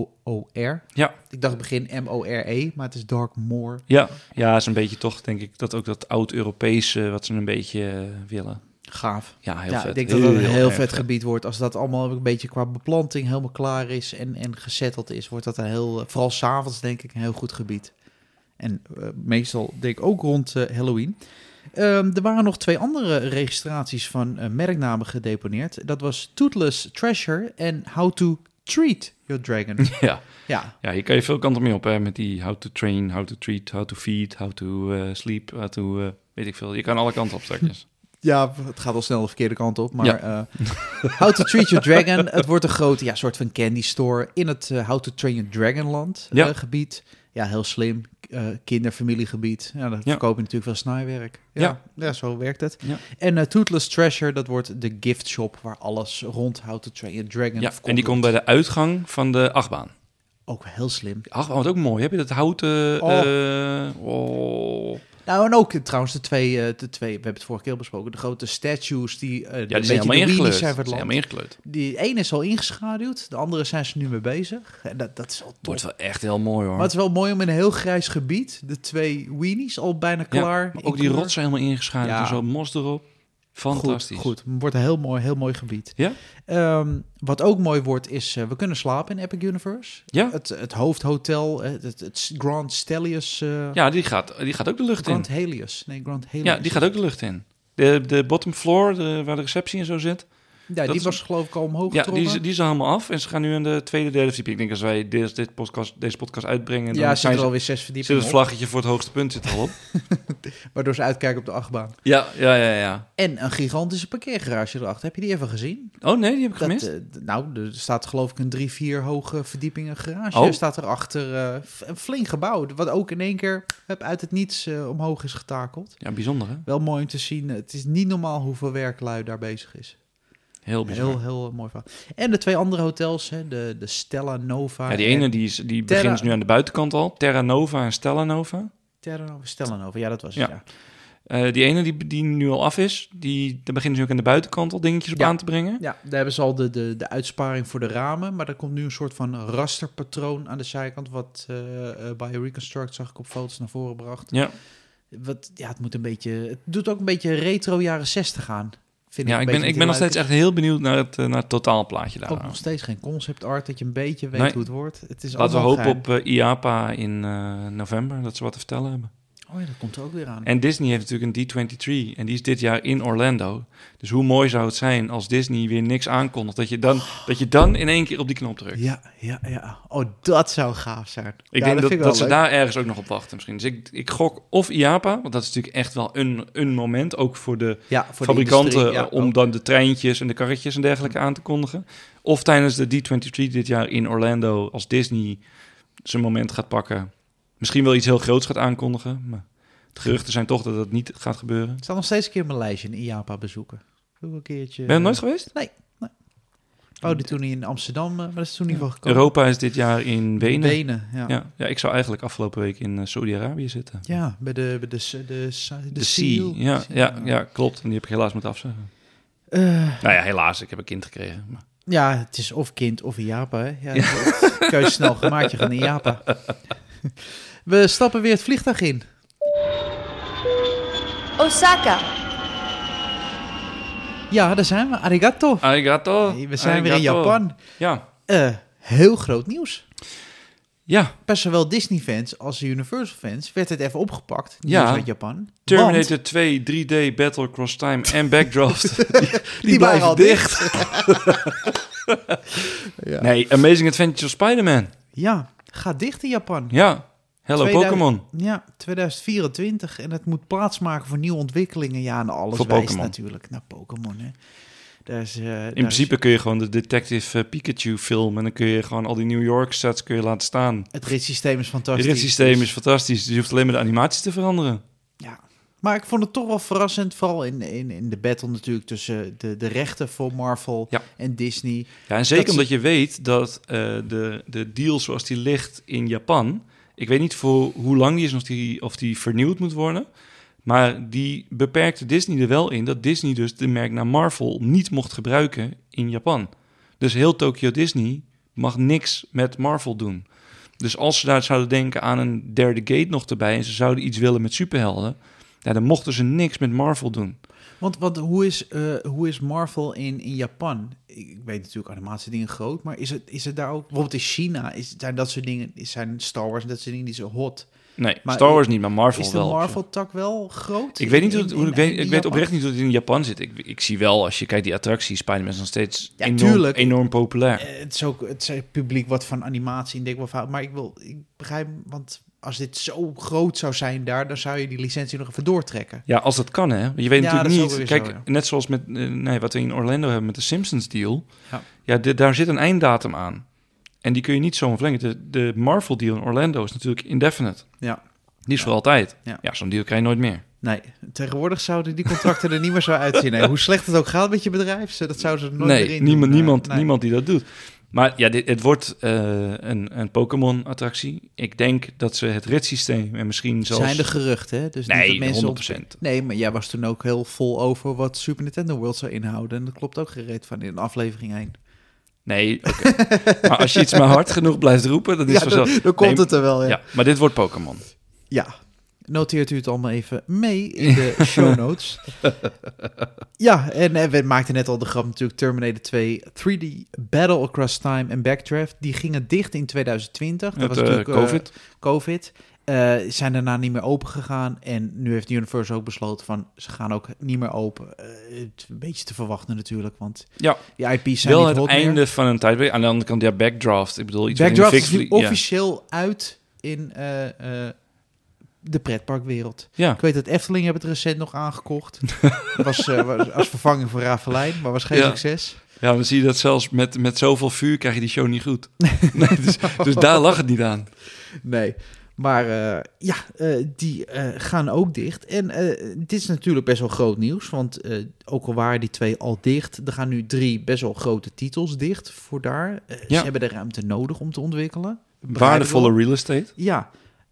M-O-O-R.
Ja.
Ik dacht begin M-O-R-E, E, maar het is Darkmoor.
Ja, ja, is een beetje toch, denk ik, dat ook dat oud-Europese wat ze een beetje eh, willen.
Gaaf.
Ja, heel
ja,
vet.
ik denk dat dat een heel
erg
vet gebied wordt. Als dat allemaal een beetje qua beplanting helemaal klaar is en, en gezetteld is, wordt dat een heel, eh, vooral s'avonds denk ik, een heel goed gebied. En eh, meestal denk ik ook rond eh, Halloween. Ehm, er waren nog twee andere registraties van eh, merknamen gedeponeerd. Dat was Toothless Treasure en How to Treat Your Dragon.
Ja.
Ja,
ja, hier kan je veel kanten mee op, hè, met die how to train, how to treat, how to feed, how to eh, sleep, how to, eh, weet ik veel. Je kan alle kanten op straks.
ja, het gaat al snel de verkeerde kant op. Maar eh, How to Treat Your Dragon. Het wordt een grote ja, soort van candy store in het eh, How to Train Your Dragonland
Ja.
land eh, gebied. Ja, heel slim. eh kinderfamiliegebied. Ja, dan
Ja.
verkoop je natuurlijk wel snijwerk. Ja, ja. zo werkt het.
Ja.
En eh, Toothless Treasure, dat wordt de gift shop waar alles rond How to Train Your Dragon
ja,
verkocht
en die komt bij
wordt.
de uitgang van de achtbaan.
Ook heel slim.
De achtbaan wordt oh, ook mooi. Heb je dat houten...
Oh.
eh, oh.
Nou, en ook eh, trouwens de twee, eh, de twee, we hebben het vorige keer al besproken, de grote statues die eh
Ja,
een
die zijn
beetje de
helemaal ingekleurd.
weenies
Die
zijn van
zijn
het land.
helemaal ingekleurd.
Die ene is al ingeschaduwd, de andere zijn ze nu mee bezig. En dat, dat is al top.
Wordt wel echt heel mooi, hoor.
Maar het is wel mooi om in een heel grijs gebied, de twee weenies al bijna
Ja,
klaar.
maar
in
ook die
kleur.
rotsen helemaal ingeschaduwd.
Ja.
en Zo mos erop. Fantastisch.
Goed, goed. Wordt een heel mooi, heel mooi gebied.
Ja?
Ehm, wat ook mooi wordt is, eh, we kunnen slapen in Epic Universe.
Ja,
Het, het hoofdhotel, eh, het, het Grand Stelius. eh,
ja die, gaat, die gaat ook de lucht in.
Grand Helios. Nee, Grand Helios.
Ja, die gaat ook de lucht in. De, de bottom floor, de- waar de receptie en zo zit.
Ja,
dat
die
is-
was geloof ik al omhoog
Ja, die
getrokken.
is, die is er helemaal af. En ze gaan nu in de tweede, derde verdieping. Ik denk als wij deze, dit podcast, deze podcast uitbrengen...
ja,
dan
zit
zijn
er
ze,
alweer zes
zit
verdiepingen
het
op,
vlaggetje voor het hoogste punt zit er al op.
waardoor ze uitkijken op de achtbaan.
ja, ja, ja, ja.
En een gigantische parkeergarage erachter. Heb je die even gezien?
Oh nee, die heb ik
Dat,
gemist.
eh, d- nou, er staat geloof ik een drie, vier hoge verdieping een garage.
Oh.
Er staat erachter eh, f- een flink gebouw, wat ook in één keer hup, uit het niets eh, omhoog is getakeld.
Ja, bijzonder hè?
Wel mooi om te zien. eh, Het is niet normaal hoeveel werklui daar bezig is.
Heel bijzonder.
Heel, heel eh, mooi verhaal. En de twee andere hotels, hè, de, de Stella Nova.
Ja, die
en
ene die, is, die
Terra-
begint nu aan de buitenkant al. Terra Nova en Stella Nova.
Terra Nova. Stella Nova, ja, dat was het.
Ja.
Ja.
Eh, die ene die, die nu al af is, die, daar beginnen ze ook aan de buitenkant al dingetjes op
Ja.
aan te brengen.
Ja, daar hebben ze al de, de, de uitsparing voor de ramen. Maar er komt nu een soort van rasterpatroon aan de zijkant. Wat eh, eh, bij Reconstruct zag ik op foto's naar voren bracht.
Ja,
Wat, ja, het, moet een beetje, het doet ook een beetje retro jaren 60 aan. Vind
ja
een
ik
beetje
ben,
met die
ik ben nog steeds
luiken.
echt heel benieuwd naar het, eh, naar het totaalplaatje daar.
Ook nog steeds geen concept art, dat je een beetje weet
Nee.
hoe het wordt. Het is
Laten we
allemaal
hopen
geheim.
op eh, IAPA in eh, november, dat ze wat te vertellen hebben.
Oh ja, dat komt er ook weer aan.
En Disney heeft natuurlijk een D23 en die is dit jaar in Orlando. Dus hoe mooi zou het zijn als Disney weer niks aankondigt, dat je dan, dat je dan in één keer op die knop drukt.
Ja, ja, ja. Oh, dat zou gaaf zijn.
Ik
Ja,
denk dat,
vind
dat,
wel
ze
leuk.
daar ergens ook nog op wachten misschien. Dus ik, ik gok of IAPA, want dat is natuurlijk echt wel een, een moment, ook voor de
ja, voor de
fabrikanten
industrie, ja, Oh.
eh, om
ook.
dan de treintjes en de karretjes en dergelijke aan te kondigen. Of tijdens de D23 dit jaar in Orlando, als Disney zijn moment gaat pakken. Misschien wel iets heel groots gaat aankondigen, maar de geruchten zijn toch dat dat niet gaat gebeuren.
Het staat nog steeds een keer in mijn lijstje, een IAPA bezoeken. Doe een keertje.
Ben je er nooit geweest?
Oh, die toen niet in Amsterdam, eh, maar dat is toen niet van gekomen.
Europa is dit jaar in Wenen.
Wenen, ja. ja.
Ja, ja, ik zou eigenlijk afgelopen week in eh, Saudi-Arabië zitten.
bij de bij de s- de s- de,
De
seal.
Sea. Ja, ja, ja, klopt. En die heb ik helaas moeten afzeggen.
Eh,
Nou ja, helaas. Ik heb een kind gekregen. Maar...
ja, het is of kind of Iapa, hè. Ja, dat- Keuze snel gemaakt, je gaat naar Iapa. We stappen weer het vliegtuig in.
Osaka,
Ja, daar zijn we. Arigato.
Arigato.
We zijn weer in
Oh, Arigato.
Japan.
Ja.
Eh, heel groot nieuws.
Ja.
Bij zowel Disney-fans als Universal-fans werd het even opgepakt. Nieuws
Ja.
uit Japan. Want-
Terminator 2, 3D, Battle Cross Time en Backdraft. die,
Die waren
blijven
al
dicht.
Ja.
Nee, Amazing Adventure of Spider-Man.
Ja, gaat dicht in Japan.
Ja. Hello
2000
Pokémon.
Ja, 2024. En het moet plaatsmaken voor nieuwe ontwikkelingen. Ja, en alles
Voor
wijst
Pokémon.
natuurlijk naar Pokémon. Hè. Daar is, eh, daar is-
In principe kun je gewoon de Detective eh, Pikachu film en dan kun je gewoon al die New York sets kun je laten staan.
Het ritssysteem is
Het
fantastisch.
systeem
Dus-
is fantastisch, dus je hoeft alleen maar de animaties te veranderen.
Ja. Maar ik vond het toch wel verrassend, vooral in, in, in de battle natuurlijk tussen de, de rechten voor Marvel
Ja.
en Disney.
Ja, en zeker
Dat-
omdat je weet dat eh, de, de deal zoals die ligt in Japan... Ik weet niet voor hoe lang die is en of die, of die vernieuwd moet worden... maar die beperkte Disney er wel in... dat Disney dus de merknaam Marvel niet mocht gebruiken in Japan. Dus heel Tokyo Disney mag niks met Marvel doen. Dus als ze daar zouden denken aan een derde gate nog erbij... en ze zouden iets willen met superhelden... ja, dan mochten ze niks met Marvel doen.
Want, want hoe, is, eh, hoe is Marvel in, in Japan? Ik, ik weet natuurlijk animatiedingen groot, maar is het, is het daar ook... Bijvoorbeeld in China is, zijn dat soort dingen, is- zijn Star Wars en dat soort dingen die zo hot.
Nee,
Maar
Star Wars niet, maar Marvel
is de
wel. op zich.
Marvel-tak wel groot?
Ik weet niet
in-
hoe, het-
in-
hoe ik weet,
in
ik weet
Japan?
oprecht niet hoe het in Japan zit. Ik, ik zie wel, als je kijkt die attractie, Spider-Man is nog steeds
Ja,
enorm,
tuurlijk.
enorm populair.
Eh, het is ook het is het publiek wat van animatie en denk wel fout. Maar ik wil, ik begrijp, want als dit zo groot zou zijn daar, dan zou je die licentie nog even doortrekken.
Ja, als dat kan, hè. Want Je weet
Ja, dat is
natuurlijk
ook
niet.
weer
Kijk,
zo,
net zoals met eh, nee, wat we in Orlando hebben met de Simpsons deal.
Ja.
Ja, de- daar zit een einddatum aan. En die kun je niet zomaar verlengen. De, de Marvel deal in Orlando is natuurlijk indefinite.
Ja.
Die is voor altijd.
Ja.
Ja, zo'n deal krijg je nooit meer.
Nee, tegenwoordig zouden die contracten er niet meer zo uitzien. Nee, hoe slecht het ook gaat met je bedrijf, ze- dat zouden ze nooit
nee,
meer in
niemand,
doen.
niemand,
Nee.
niemand die dat doet. Maar ja, dit, het wordt eh, een, een Pokémon-attractie. Ik denk dat ze het ritssysteem en misschien zelfs...
Zijn de geruchten, hè? Dus niet dat
Nee,
mensen
100
op- Nee, maar jij was toen ook heel vol over wat Super Nintendo World zou inhouden. En dat klopt ook gereed van in een aflevering heen.
Nee, oké. maar als je iets maar hard genoeg blijft roepen, dan is
Ja,
het vanzelf.
dan, dan komt eh,
Nee,
het er wel, ja.
Ja, maar dit wordt Pokémon.
Ja. Noteert u het allemaal even mee in de show notes. ja, en eh, we maakten net al de grap natuurlijk Terminator 2, 3D Battle Across Time en Backdraft. Die gingen dicht in 2020. Dat
Met,
was
eh,
natuurlijk eh,
COVID.
COVID. eh, zijn daarna niet meer open gegaan. En nu heeft Universal ook besloten van ze gaan ook niet meer open. Eh, het is een beetje te verwachten natuurlijk, want
Ja.
die IP's zijn
Wel
niet
het
hot meer.
einde van een tijdperk. Aan de andere kant, ja, Backdraft. Ik bedoel, iets wat in
Backdraft
de
is nu
fik vlie-
officieel uit in eh, eh, de pretparkwereld.
Ja.
Ik weet dat Efteling hebben het recent nog aangekocht. was, eh, was als vervanging voor Ravelijn, maar was geen
Ja.
succes.
ja. ja, dan zie je dat zelfs met, met zoveel vuur krijg je die show niet goed. nee, dus, dus daar lag het niet aan.
Nee. Maar eh, ja, eh, die eh, gaan ook dicht. En eh, dit is natuurlijk best wel groot nieuws. Want eh, ook al waren die twee al dicht, er gaan nu drie best wel grote titels dicht voor daar. Eh,
Ja.
Ze hebben de ruimte nodig om te ontwikkelen. Begrijp ik
Waardevolle real estate.
Ja,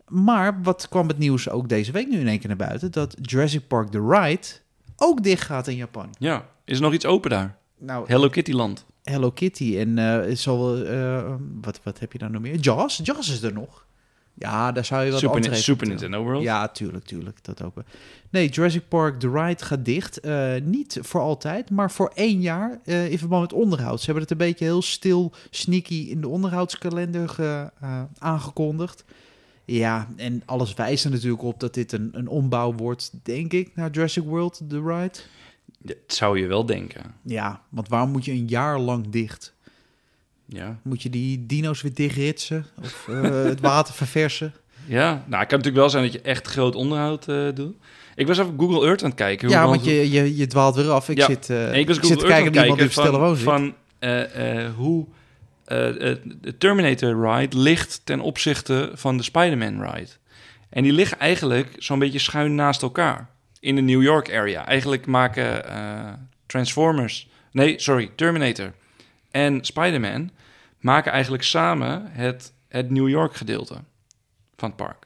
maar wat kwam het nieuws ook deze week nu in één keer naar buiten? Dat Jurassic Park The Ride ook dicht gaat in Japan.
Ja. Is er nog iets open daar?
Nou,
Hello Kitty Land.
Hello Kitty en eh zo, eh, wat, wat heb je dan nog meer? Jaws? Jaws is er nog. Ja, daar zou je wel
Super, Ni-
entree
Super
voor betalen.
Nintendo World.
Ja, tuurlijk, tuurlijk. Dat ook. wel. Nee, Jurassic Park The Ride gaat dicht. Eh, niet voor altijd, maar voor één jaar eh, in verband met onderhoud. Ze hebben het een beetje heel stil, sneaky in de onderhoudskalender ge- eh, aangekondigd. Ja, en alles wijst er natuurlijk op dat dit een, een ombouw wordt, denk ik, naar Jurassic World The Ride.
Dat zou je wel denken.
Ja, want waarom moet je een jaar lang dicht?
Ja.
Moet je die dino's weer dichtritsen of eh, het water verversen?
Ja. Nou, het kan natuurlijk wel zijn dat je echt groot onderhoud eh, doet. Ik was even op Google Earth aan het kijken. hoe
Ja,
lang-
want je, je, je dwaalt weer af. Ik
Ja.
zit, eh,
Nee, ik was
ik zit te
Google Earth
kijken
aan het
naar iemand die op
kijken
stille woon
van,
zit.
van eh, eh, hoe eh, eh, de Terminator ride ligt ten opzichte van de Spider-Man ride. En die liggen eigenlijk zo'n beetje schuin naast elkaar in de New York area. Eigenlijk maken eh, Transformers, nee, sorry, Terminator en Spider-Man maken eigenlijk samen het, het New York gedeelte van het park.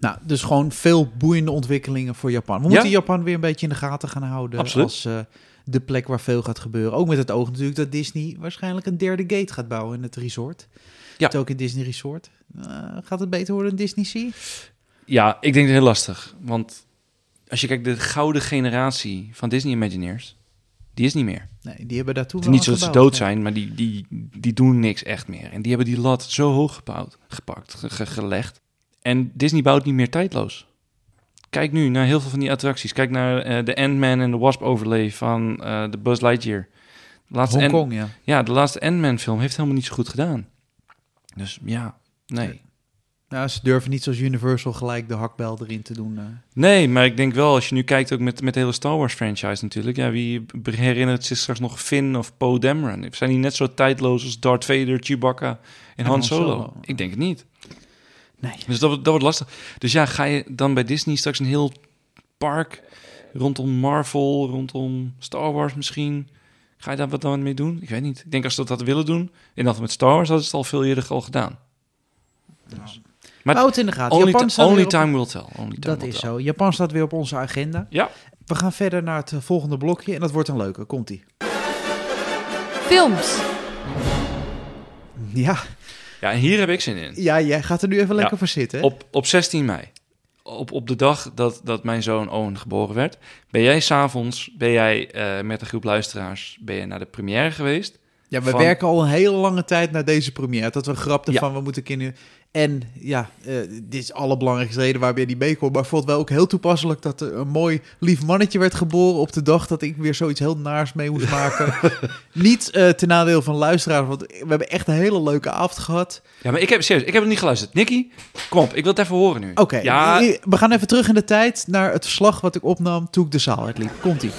Nou, dus gewoon veel boeiende ontwikkelingen voor Japan. We
Ja.
moeten Japan weer een beetje in de gaten gaan houden.
Absoluut.
Als eh, de plek waar veel gaat gebeuren. Ook met het oog natuurlijk dat Disney waarschijnlijk een derde gate gaat bouwen in het resort.
Ja.
Het ook in Disney Resort. Eh, gaat het beter worden in Disney Sea?
Ja, ik denk dat het heel lastig. Want als je kijkt, de gouden generatie van Disney Imagineers, die is niet meer.
Nee, die hebben daartoe
Het
wel
is niet zo
aan
dat ze
gebouwd,
dood
nee.
zijn, maar die, die, die doen niks echt meer. En die hebben die lat zo hoog gebouwd, gepakt, ge- ge- gelegd. En Disney bouwt niet meer tijdloos. Kijk nu naar heel veel van die attracties. Kijk naar eh, de Ant-Man en de Wasp overlay van eh, de Buzz Lightyear. De laatste Ant-
Hongkong, ja.
ja, de laatste Ant-Man film heeft helemaal niet zo goed gedaan. Dus ja, nee.
Nou, ze durven niet zoals Universal gelijk de hakbel erin te doen. eh.
Nee, maar ik denk wel, als je nu kijkt ook met, met de hele Star Wars franchise natuurlijk. Ja, wie b- herinnert zich straks nog Finn of Poe Dameron? Zijn die net zo tijdloos als Darth Vader, Chewbacca en, Han,
Han
Solo?
Solo.
Ik denk het niet.
Nee.
Dus dat, wordt- dat wordt lastig. Dus ja, ga je dan bij Disney straks een heel park rondom Marvel, rondom Star Wars misschien? Ga je daar wat dan mee doen? Ik weet niet. Ik denk als ze dat hadden willen doen, en dat met Star Wars, hadden ze het al veel eerder al gedaan. Maar
Hou Ah, het in de gaten.
Only,
Japan
ti-
staat weer
only
op-
time will tell. Only time
Dat
will
is
tell.
zo. Japan staat weer op onze agenda.
Ja.
We gaan verder naar het eh, volgende blokje. En dat wordt een leuke. Komt-ie.
Films.
Ja,
Ja, en hier heb ik zin in.
ja, jij gaat er nu even
Ja.
lekker voor zitten. hè?
Op, op 16 mei, op, op de dag dat, dat mijn zoon Owen geboren werd, ben jij s'avonds ben jij, eh, met een groep luisteraars ben je naar de première geweest.
ja, we
van-
werken al een hele lange tijd naar deze première. Dat we grapten
Ja.
van we moeten kinderen. En ja, eh, dit is alle belangrijkste reden waarbij die mee komt. Maar ik vond het wel ook heel toepasselijk dat er een mooi lief mannetje werd geboren op de dag dat ik weer zoiets heel naars mee moest maken. Niet eh, ten nadeel van luisteraars, want we hebben echt een hele leuke avond gehad.
Ja, maar ik heb, serieus, ik heb het niet geluisterd. Nicky, kom op, ik wil het even horen nu.
Oké,
Ja,
we gaan even terug in de tijd naar het verslag wat ik opnam toen ik de zaal uitliep. Komt-ie.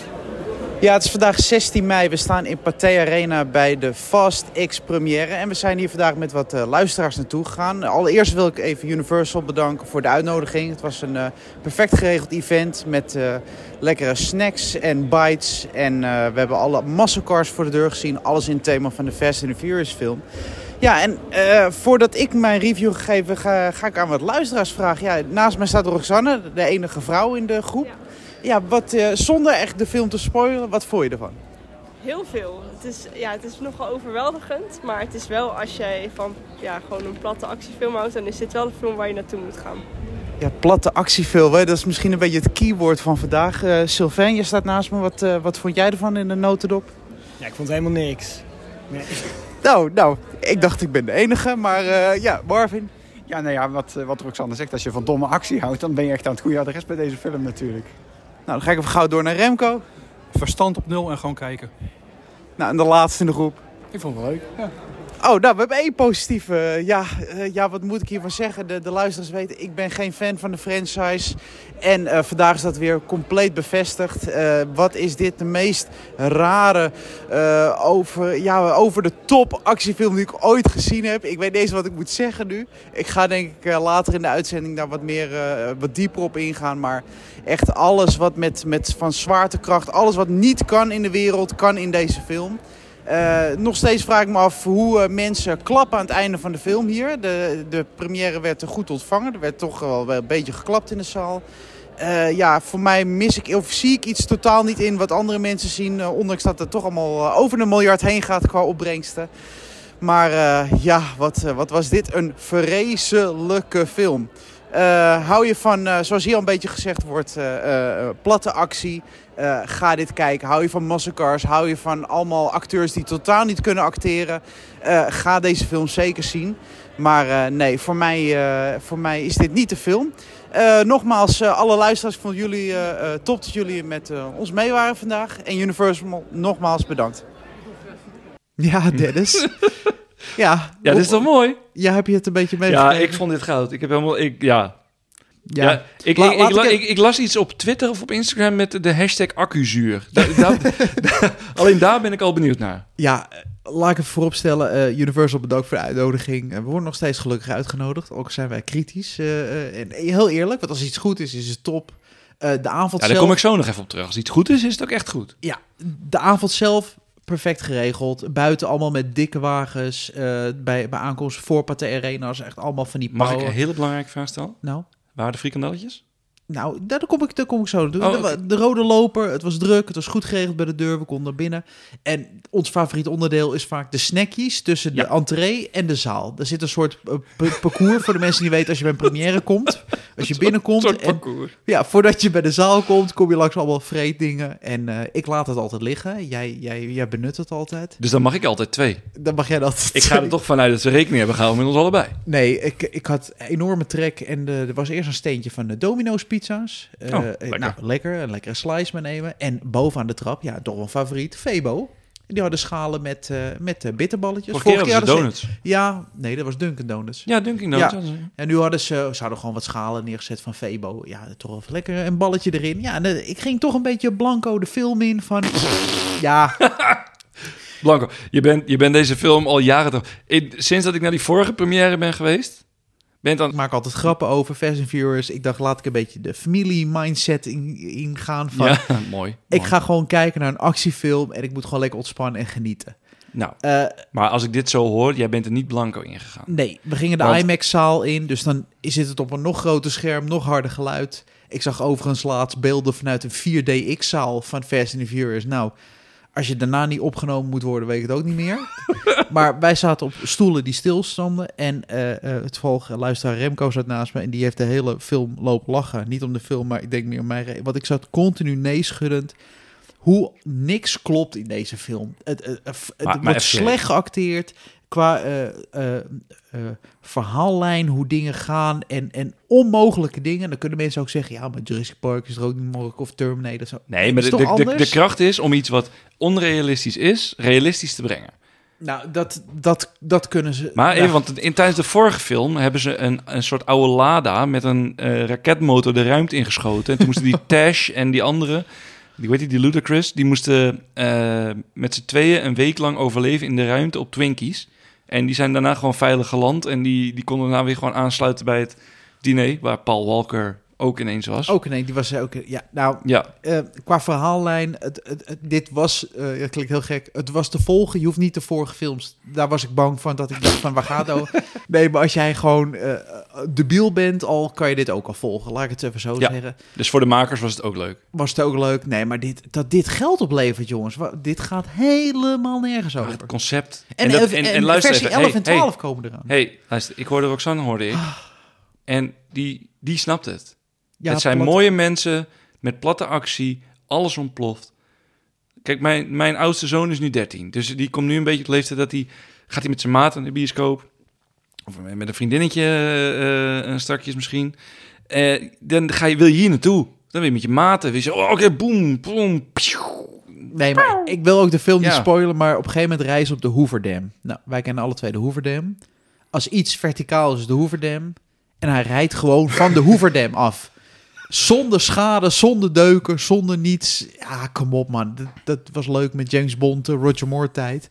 Ja, het is vandaag 16 mei. We staan in Pathé Arena bij de Fast X première. En we zijn hier vandaag met wat eh, luisteraars naartoe gegaan. Allereerst wil ik even Universal bedanken voor de uitnodiging. Het was een eh, perfect geregeld event met eh, lekkere snacks en bites. En eh, we hebben alle massacars voor de deur gezien. Alles in het thema van de Fast and the Furious film. Ja, en eh, voordat ik mijn review ga geven, ga, ga ik aan wat luisteraars vragen. Ja, naast mij staat Roxanne, de enige vrouw in de groep. Ja, wat, eh, zonder echt de film te spoilen, wat vond je ervan?
Heel veel. Het is, ja, het is nogal overweldigend. Maar het is wel als jij van ja, gewoon een platte actiefilm houdt, dan is dit wel de film waar je naartoe moet gaan.
Ja, platte actiefilm. Hè? Dat is misschien een beetje het keyword van vandaag. Eh Sylvain, je staat naast me. Wat, eh, wat vond jij ervan in de notendop?
Ja, ik vond het helemaal niks. Nee.
Nou, nou, ik dacht ik ben de enige, maar eh, ja, Marvin.
Ja, nou ja, wat, eh, wat Roxanne zegt, als je van domme actie houdt, dan ben je echt aan het goede adres bij deze film natuurlijk.
Nou, dan ga ik even gauw door naar Remco.
Verstand op nul en gewoon kijken.
Nou, en de laatste in de groep.
Ik vond het wel leuk. Ja.
Oh, nou, we hebben één positieve. Ja, eh, ja wat moet ik hiervan zeggen? De, de luisteraars weten, ik ben geen fan van de franchise. En eh, vandaag is dat weer compleet bevestigd. Eh, wat is dit de meest rare, eh, over, ja, over de top actiefilm die ik ooit gezien heb? Ik weet niet eens wat ik moet zeggen nu. Ik ga denk ik eh, later in de uitzending daar wat, meer, eh, wat dieper op ingaan. Maar echt alles wat met, met van zwaartekracht, alles wat niet kan in de wereld, kan in deze film. Eh, nog steeds vraag ik me af hoe eh, mensen klappen aan het einde van de film hier. De, de première werd eh, goed ontvangen. Er werd toch wel wel een beetje geklapt in de zaal. Eh, ja, voor mij mis ik of zie ik iets totaal niet in wat andere mensen zien. eh, ondanks dat het toch allemaal eh, over een miljard heen gaat qua opbrengsten. Maar eh, ja, wat, eh, wat was dit een vreselijke film. Eh, hou je van, eh, zoals hier al een beetje gezegd wordt, eh, eh, eh, platte actie. Eh, ga dit kijken. Hou je van massacres? Hou je van allemaal acteurs die totaal niet kunnen acteren? Eh, ga deze film zeker zien. Maar eh, nee, voor mij, eh, voor mij is dit niet de film. Eh, nogmaals, eh, alle luisteraars, ik vond jullie eh, eh, top dat jullie met eh, ons mee waren vandaag. En Universal, nogmaals bedankt.
Ja, Dennis. ja, dus-
Ja, dit is toch mooi?
ja, heb je het een beetje mee?
Ja, ik vond dit goud. Ik heb helemaal... Ik, ja. Ja. ik,
La-
ik,
laat
ik, la-
ik-
ik, ik las iets op Twitter of op Instagram met de hashtag accuzuur. Da- da- da- alleen daar ben ik al benieuwd naar.
Ja, eh, laat ik het vooropstellen. eh Universal bedankt voor de uitnodiging. Eh, we worden nog steeds gelukkig uitgenodigd. Ook zijn wij kritisch. eh, eh, en heel eerlijk, want als iets goed is, is het top. Eh, de avond
Ja, daar
zelf...
kom ik zo nog even op terug. Als iets goed is, is het ook echt goed.
Ja, de avond zelf perfect geregeld. Buiten allemaal met dikke wagens. eh, bij, bij aankomst voor Pathé Arena's. Echt allemaal van die
Mag ik
power-
een hele belangrijke vraag stellen?
Nou,
Waren de frikandelletjes?
nou daar, daar kom ik, daar kom ik zo. De,
Oh,
de-
oké.
de rode loper, het was druk. Het was goed geregeld bij de deur. We konden naar binnen. En ons favoriet onderdeel is vaak de snackies tussen de
Ja.
entree en de zaal. Er zit een soort eh, pa- parcours voor de mensen die weten als je bij een première komt. Als je binnenkomt.
Een soort
en-
parcours.
ja, voordat je bij de zaal komt, kom je langs allemaal vreeddingen. En eh, ik laat het altijd liggen. Jij, jij, jij benut het altijd.
Dus dan mag ik altijd twee.
Dan mag jij dat.
Ik ga er toch vanuit dat ze rekening hebben gehouden met ons allebei.
Nee, ik, ik had enorme trek. En de, er was eerst een steentje van de Domino's pizza's. Eh,
Oh,
eh,
lekker.
Nou, lekker. Een lekkere slice meenemen. En bovenaan de trap, ja, toch een favoriet, Febo. Die hadden schalen met, eh, met eh, bitterballetjes.
Vorige keer hadden ze
hadden
donuts.
ze- Ja, nee, dat was Dunkin' Donuts.
Ja, Dunkin' Donuts.
dus, Ja.
hadden ze.
En nu hadden ze, ze hadden gewoon wat schalen neergezet van Febo. Ja, toch wel even lekker een balletje erin. Ja, en eh, ik ging toch een beetje blanco de film in van... ja,
Blanco, je bent, je bent deze film al jaren... Te... Ik- sinds dat ik naar die vorige première ben geweest... Ben je
ik
dan...
maak altijd grappen over Fast and Furious. Ik dacht, laat ik een beetje de familie-mindset in- ingaan van...
Ja, mooi.
Ik
mooi.
ga gewoon kijken naar een actiefilm en ik moet gewoon lekker ontspannen en genieten.
Nou,
Eh,
maar als ik dit zo hoor, jij bent er niet blanco ingegaan.
nee, we gingen de
Want-
IMAX-zaal in, dus dan zit het op een nog groter scherm, nog harder geluid. Ik zag overigens laatst beelden vanuit een 4DX-zaal van Fast and the Furious. Nou, als je daarna niet opgenomen moet worden, weet ik het ook niet meer. maar wij zaten op stoelen die stilstonden en eh, eh, het volg luisteraar Remco zat naast me en die heeft de hele film lopen lachen. Niet om de film, maar ik denk meer om mij. re- Want ik zat continu neeschuddend. Hoe niks klopt in deze film. Het, het, het
maar
wordt
even serieus.
slecht geacteerd qua eh, eh, eh, verhaallijn, hoe dingen gaan en, en onmogelijke dingen. Dan kunnen mensen ook zeggen, ja, maar Jurassic Park is er ook niet mogelijk of Terminator. Zo.
Nee, maar
Is
de,
toch
de, de, de
anders?
kracht is om iets wat onrealistisch is, realistisch te brengen.
Nou, dat, dat, dat kunnen ze.
Maar even,
Ja.
want in, tijdens de vorige film hebben ze een, een soort oude Lada met een eh, raketmotor de ruimte ingeschoten. En toen moesten die Tash en die andere, die weet je, die Ludacris, die moesten eh, met z'n tweeën een week lang overleven in de ruimte op Twinkies. En die zijn daarna gewoon veilig geland en die, die konden daarna weer gewoon aansluiten bij het diner waar Paul Walker ook ineens was.
Ook nee, die was ook. Ja, nou,
Ja,
eh, qua verhaallijn, het, het, het- dit was, eh dat klinkt heel gek, het was te volgen. Je hoeft niet de vorige films, daar was ik bang van, dat ik dacht van, waar gaat het over? Nee, maar als jij gewoon eh debiel bent al, kan je dit ook al volgen. Laat ik het even zo
Ja.
zeggen.
dus voor de makers was het ook leuk.
Was het ook leuk? Nee, maar dit, dat dit geld oplevert, jongens. wa- Dit gaat helemaal nergens
Maar
over.
het concept.
en,
dat-
en, en, versie
even,
11
hey,
en
hey,
12 komen eraan.
Hé, hey, luister, ik hoorde Roxanne, hoorde ik. En die, die snapt het.
Ah. Ja,
het zijn
plat-
mooie mensen met platte actie, alles ontploft. Kijk, mijn, mijn oudste zoon is nu 13, dus die komt nu een beetje op de leeftijd dat hij gaat hij met zijn maat aan de bioscoop of met een vriendinnetje eh, eh, strakjes misschien. Eh, dan ga je, wil je hier naartoe. Dan weer met je maten. Weer zo, oh, oké, boem, boem, pioe.
Nee, maar ik wil ook de film niet
Ja.
spoilen, maar op een gegeven moment reizen op de Hoeverdam. Nou, wij kennen alle twee de Hoeverdam. Als iets verticaal is, is de Hoeverdam. En hij rijdt gewoon van de Hoeverdam af. Zonder schade, zonder deuken, zonder niets. Ja, kom op man. Dat, dat was leuk met James Bond, de Roger Moore tijd.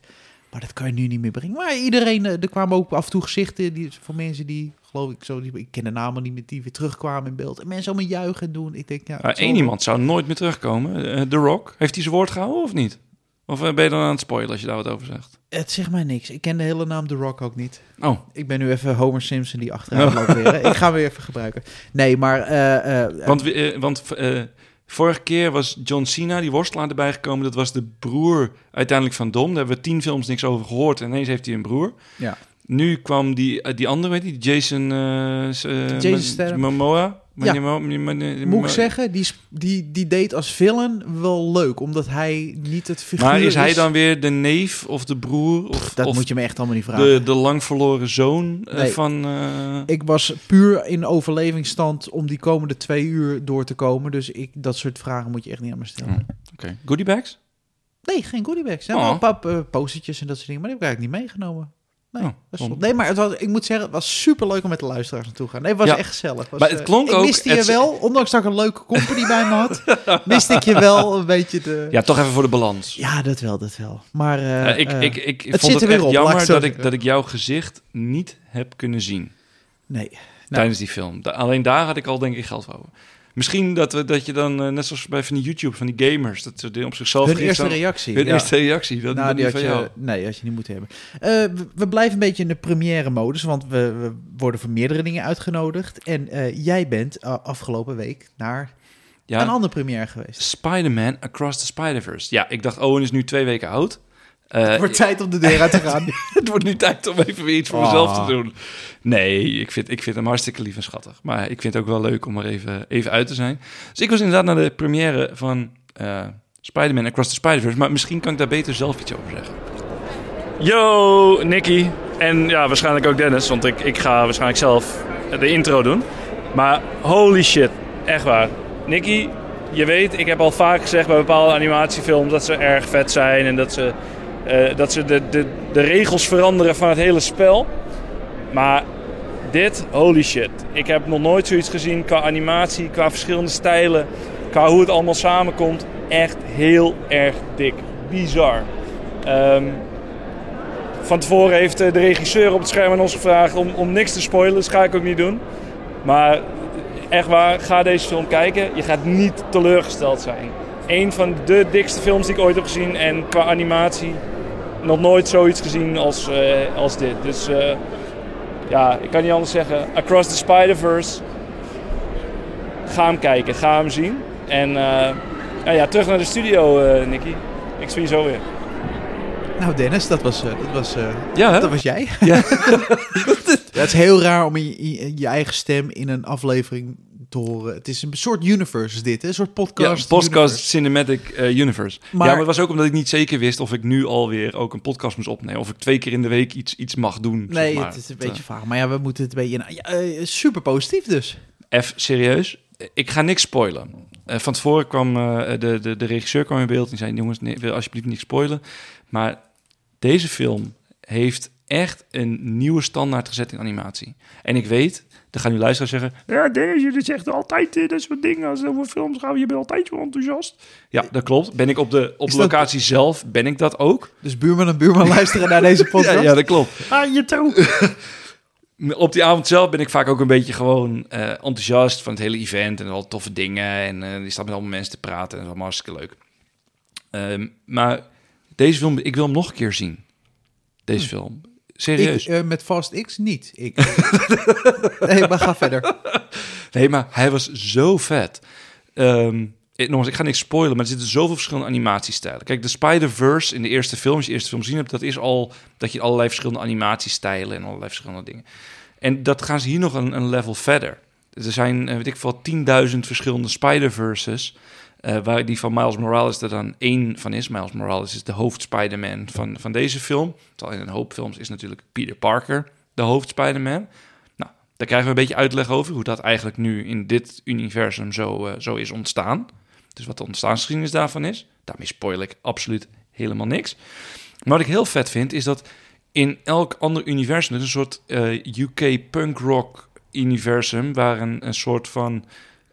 Maar dat kan je nu niet meer brengen. Maar iedereen, eh, er kwamen ook af en toe gezichten die, van mensen die, geloof ik, zo, die, ik ken de namen niet meer, die weer terugkwamen in beeld. En mensen allemaal juichen en doen. Ik denk, ja,
Nou,
zo-
één iemand zou nooit meer terugkomen. Eh, The Rock. Heeft hij zijn woord gehouden of niet? Of eh, ben je dan aan het spoilen als je daar wat over zegt?
Het zegt mij niks. Ik ken de hele naam The Rock ook niet.
Oh,
Ik ben nu even Homer Simpson die achteruit loopt weer. hè. Ik ga hem weer even gebruiken. Nee, maar... eh, eh,
want, we- eh, want eh, vorige keer was John Cena, die worstelaar, erbij gekomen. Dat was de broer uiteindelijk van Dom. Daar hebben we tien films niks over gehoord. En ineens heeft hij een broer.
Ja.
Nu kwam die, eh, die andere, weet je, die Jason... eh, s- eh,
Jason
Ma-
Statham.
Momoa?
Ja.
Mo- Mo- Mo-
moet
Mo-
ik zeggen, die, sp- die, die deed als villain wel leuk. Omdat hij niet het figuur
Maar is hij dan weer de neef of de broer? Of,
Dat
of
moet je me echt allemaal niet vragen.
de, de lang verloren zoon eh,
Nee.
van... eh,
Ik was puur in overlevingsstand om die komende twee uur door te komen. Dus ik, dat soort vragen moet je echt niet aan me stellen.
Hm. Oké. Goodie bags?
Nee, geen goodiebags. Ja,
Oh.
wel een paar eh, postertjes en dat soort dingen. Maar die heb ik eigenlijk niet meegenomen. Nee,
Oh,
dat is
dom.
zonde. nee maar het was, ik moet zeggen, het was super leuk om met de luisteraars naartoe te gaan. Nee, het was
Ja.
echt gezellig. Was,
Maar het
eh,
klonk
ik
ook-
miste je
het-
wel, ondanks dat ik een leuke company bij me had, miste ik je wel een beetje de... Ja,
Ja, toch even voor de balans.
dat wel, dat wel. Maar eh,
Eh, ik,
eh,
ik, ik, ik
het
vond
zit er
het
weer
echt
op, laat ik
jammer
zo
dat ik,
zeggen.
dat ik jouw gezicht niet heb kunnen zien
nee. Nou,
tijdens die film. Da- alleen daar had ik al denk ik geld voor over. Misschien dat, we, dat je dan, eh, net zoals bij van die YouTube, van die gamers, dat ze die op zichzelf
hun
gingen
eerste
staan-
reactie.
Hun
ja.
eerste reactie, dat,
nou,
dat
die
niet
had
van
je,
jou.
nee, had je niet moeten hebben. Eh, we, we blijven een beetje in de première modus, want we, we worden voor meerdere dingen uitgenodigd. En eh, jij bent eh, afgelopen week naar een
Ja,
andere première geweest.
Spider-Man Across the Spider-Verse. Ja, ik dacht, Owen is nu twee weken oud. Eh,
Het wordt tijd om de deur uit te gaan.
het wordt nu tijd om even weer iets voor
Ah.
mezelf te doen. Nee, ik vind, ik vind hem hartstikke lief en schattig. Maar ik vind het ook wel leuk om er even, even uit te zijn. Dus ik was inderdaad naar de première van eh Spider-Man Across the Spider-Verse. Maar misschien kan ik daar beter zelf iets over zeggen.
Yo, Nicky. En ja, waarschijnlijk ook Dennis, want ik, ik ga waarschijnlijk zelf de intro doen. Maar holy shit, echt waar. Nicky, je weet, ik heb al vaak gezegd bij bepaalde animatiefilms dat ze erg vet zijn en dat ze, eh, dat ze de, de, de regels veranderen van het hele spel. Maar dit, holy shit. Ik heb nog nooit zoiets gezien qua animatie, qua verschillende stijlen, qua hoe het allemaal samenkomt. Echt heel erg dik. Bizar. Ehm, van tevoren heeft eh, de regisseur op het scherm aan ons gevraagd om, om niks te spoilen. Dat ga ik ook niet doen. Maar echt waar, ga deze film kijken. Je gaat niet teleurgesteld zijn. Eén van de dikste films die ik ooit heb gezien. En qua animatie nog nooit zoiets gezien als, eh, als dit. Dus eh, ja, ik kan niet anders zeggen. Across the Spider-Verse. Ga hem kijken, ga hem zien. En eh, nou ja, terug naar de studio, eh Nicky. Ik zie je zo weer.
Nou, Dennis, dat was, eh, dat was, eh,
Ja, hè?
dat was jij. Ja. het is heel raar om je, je- je eigen stem in een aflevering te horen. Het is een soort universe is dit, hè? een soort
Ja,
podcast.
podcast
universe.
Cinematic eh, Universe.
Maar-
ja, maar het was ook omdat ik niet zeker wist of ik nu alweer ook een podcast moest opnemen. Of ik twee keer in de week iets, iets mag doen.
Nee,
zeg maar.
het is een
Dat, eh,
beetje vaag. Maar ja, we moeten het een beetje... nou, ja, eh, super positief dus.
F, serieus. Ik ga niks spoilen. Eh, van tevoren kwam eh, de, de, de regisseur kwam in beeld en zei: Jongens, nee, wil alsjeblieft niks spoilen. Maar deze film heeft echt een nieuwe standaard gezet in animatie. En ik weet, dan gaan nu luisteraars zeggen: Ja, Dennis, jullie zeggen altijd eh, dat soort dingen. Als het over films gaan, je bent altijd zo enthousiast. Ja, dat klopt. Ben ik op de op
Is
de
dat-
locatie zelf, ben ik dat ook.
Dus buurman en buurman luisteren naar deze podcast.
Ja, ja, dat klopt.
Ah, je toe.
Op die avond zelf ben ik vaak ook een beetje gewoon eh, enthousiast van het hele event en al toffe dingen. En eh je staat met allemaal mensen te praten en dat is allemaal hartstikke leuk. Ehm, maar deze film, ik wil hem nog een keer zien. Deze film.
Hm. Ik,
Serieus.
eh, met Fast X niet. Ik. nee, maar ga
Eh,
verder.
Nee, maar hij was zo vet. Ehm ik, nogmaals, ik ga niks spoilen, maar er zitten zoveel verschillende animatiestijlen. Kijk, de Spider-Verse in de eerste film, als je de eerste film gezien hebt, dat is al dat je allerlei verschillende animatiestijlen en allerlei verschillende dingen. En dat gaan ze hier nog een, een level verder. Er zijn, eh, weet ik veel, 10.000 verschillende Spider-Verses. eh, waar die van Miles Morales er dan één van is. Miles Morales is de hoofd-Spider-Man van, van deze film. Terwijl in een hoop films is natuurlijk Peter Parker de hoofd-Spider-Man. Nou, daar krijgen we een beetje uitleg over hoe dat eigenlijk nu in dit universum zo, eh, zo is ontstaan. Dus wat de ontstaansgeschiedenis daarvan is. Daarmee spoil ik absoluut helemaal niks. Maar wat ik heel vet vind, is dat in elk ander universum, dus een soort eh, UK punk rock universum, waar een, een soort van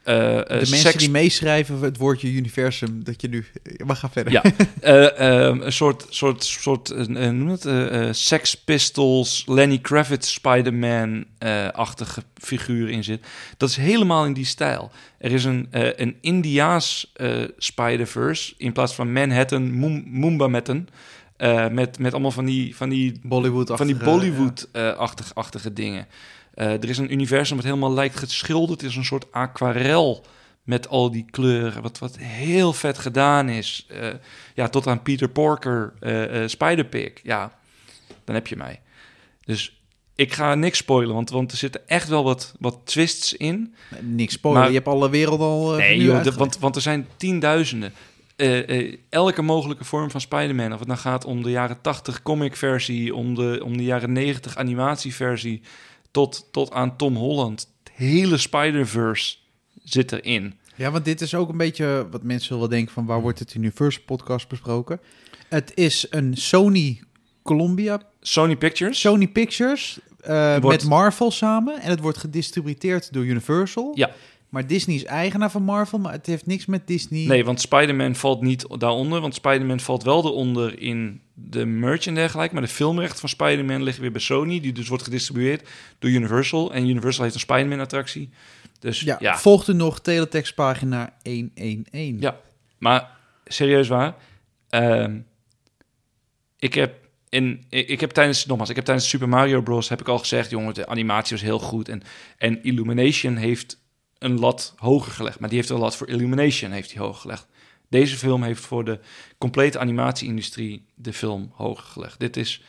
eh, eh,
de mensen
seks-
die meeschrijven het woordje universum, dat je nu... Maar ga verder.
Ja. eh, ehm, een soort, soort, soort eh, eh, noem het, eh, eh, Sex Pistols, Lenny Kravitz, Spider-Man-achtige figuur in zit. Dat is helemaal in die stijl. Er is een, eh, een Indiaas eh Spider-Verse in plaats van Manhattan, Moom- Moombametten. eh met, met allemaal van die, van die
Bollywood
van die Bollywood-achtige achtige dingen. Eh, er is een universum wat helemaal lijkt geschilderd. Het is een soort aquarel met al die kleuren. Wat, wat heel vet gedaan is. Eh, ja, tot aan Peter Porker, eh eh Spider-Pig. Ja, dan heb je mij. Dus ik ga niks spoilen, want, want er zitten echt wel wat, wat twists in.
eh, Niks spoiler,
Maar-
je hebt alle wereld al... eh,
Nee,
nu
joh, dat-
uitgelegd.
want, want er zijn tienduizenden. Eh, eh, elke mogelijke vorm van Spider-Man. Of het nou gaat om de jaren 80 comic versie, om de, om de jaren 90 animatieversie, tot, tot aan Tom Holland. Het hele Spider-Verse zit erin.
Ja, want dit is ook een beetje wat mensen wel denken van waar wordt het Universal podcast besproken. Het is een Sony Columbia,
Sony Pictures.
Sony Pictures eh,
Wordt-
met Marvel samen en het wordt gedistributeerd door Universal.
Ja.
Maar Disney is eigenaar van Marvel, maar het heeft niks met Disney.
Nee, want Spider-Man valt niet daaronder. Want Spider-Man valt wel eronder in de merch en dergelijke. Maar de filmrechten van Spider-Man liggen weer bij Sony. Die dus wordt gedistribueerd door Universal. En Universal heeft een Spider-Man-attractie. Dus
Ja,
ja.
Volgt u nog teletextpagina 111.
Ja, maar serieus waar. ehm, ik heb. In, ik ik heb tijdens, nogmaals, ik heb tijdens Super Mario Bros. heb ik al gezegd, jongen, de animatie was heel goed. En, en Illumination heeft een lat hoger gelegd. Maar die heeft een lat voor Illumination heeft die hoog gelegd. Deze film heeft voor de complete animatieindustrie de film hoger gelegd. Dit, is,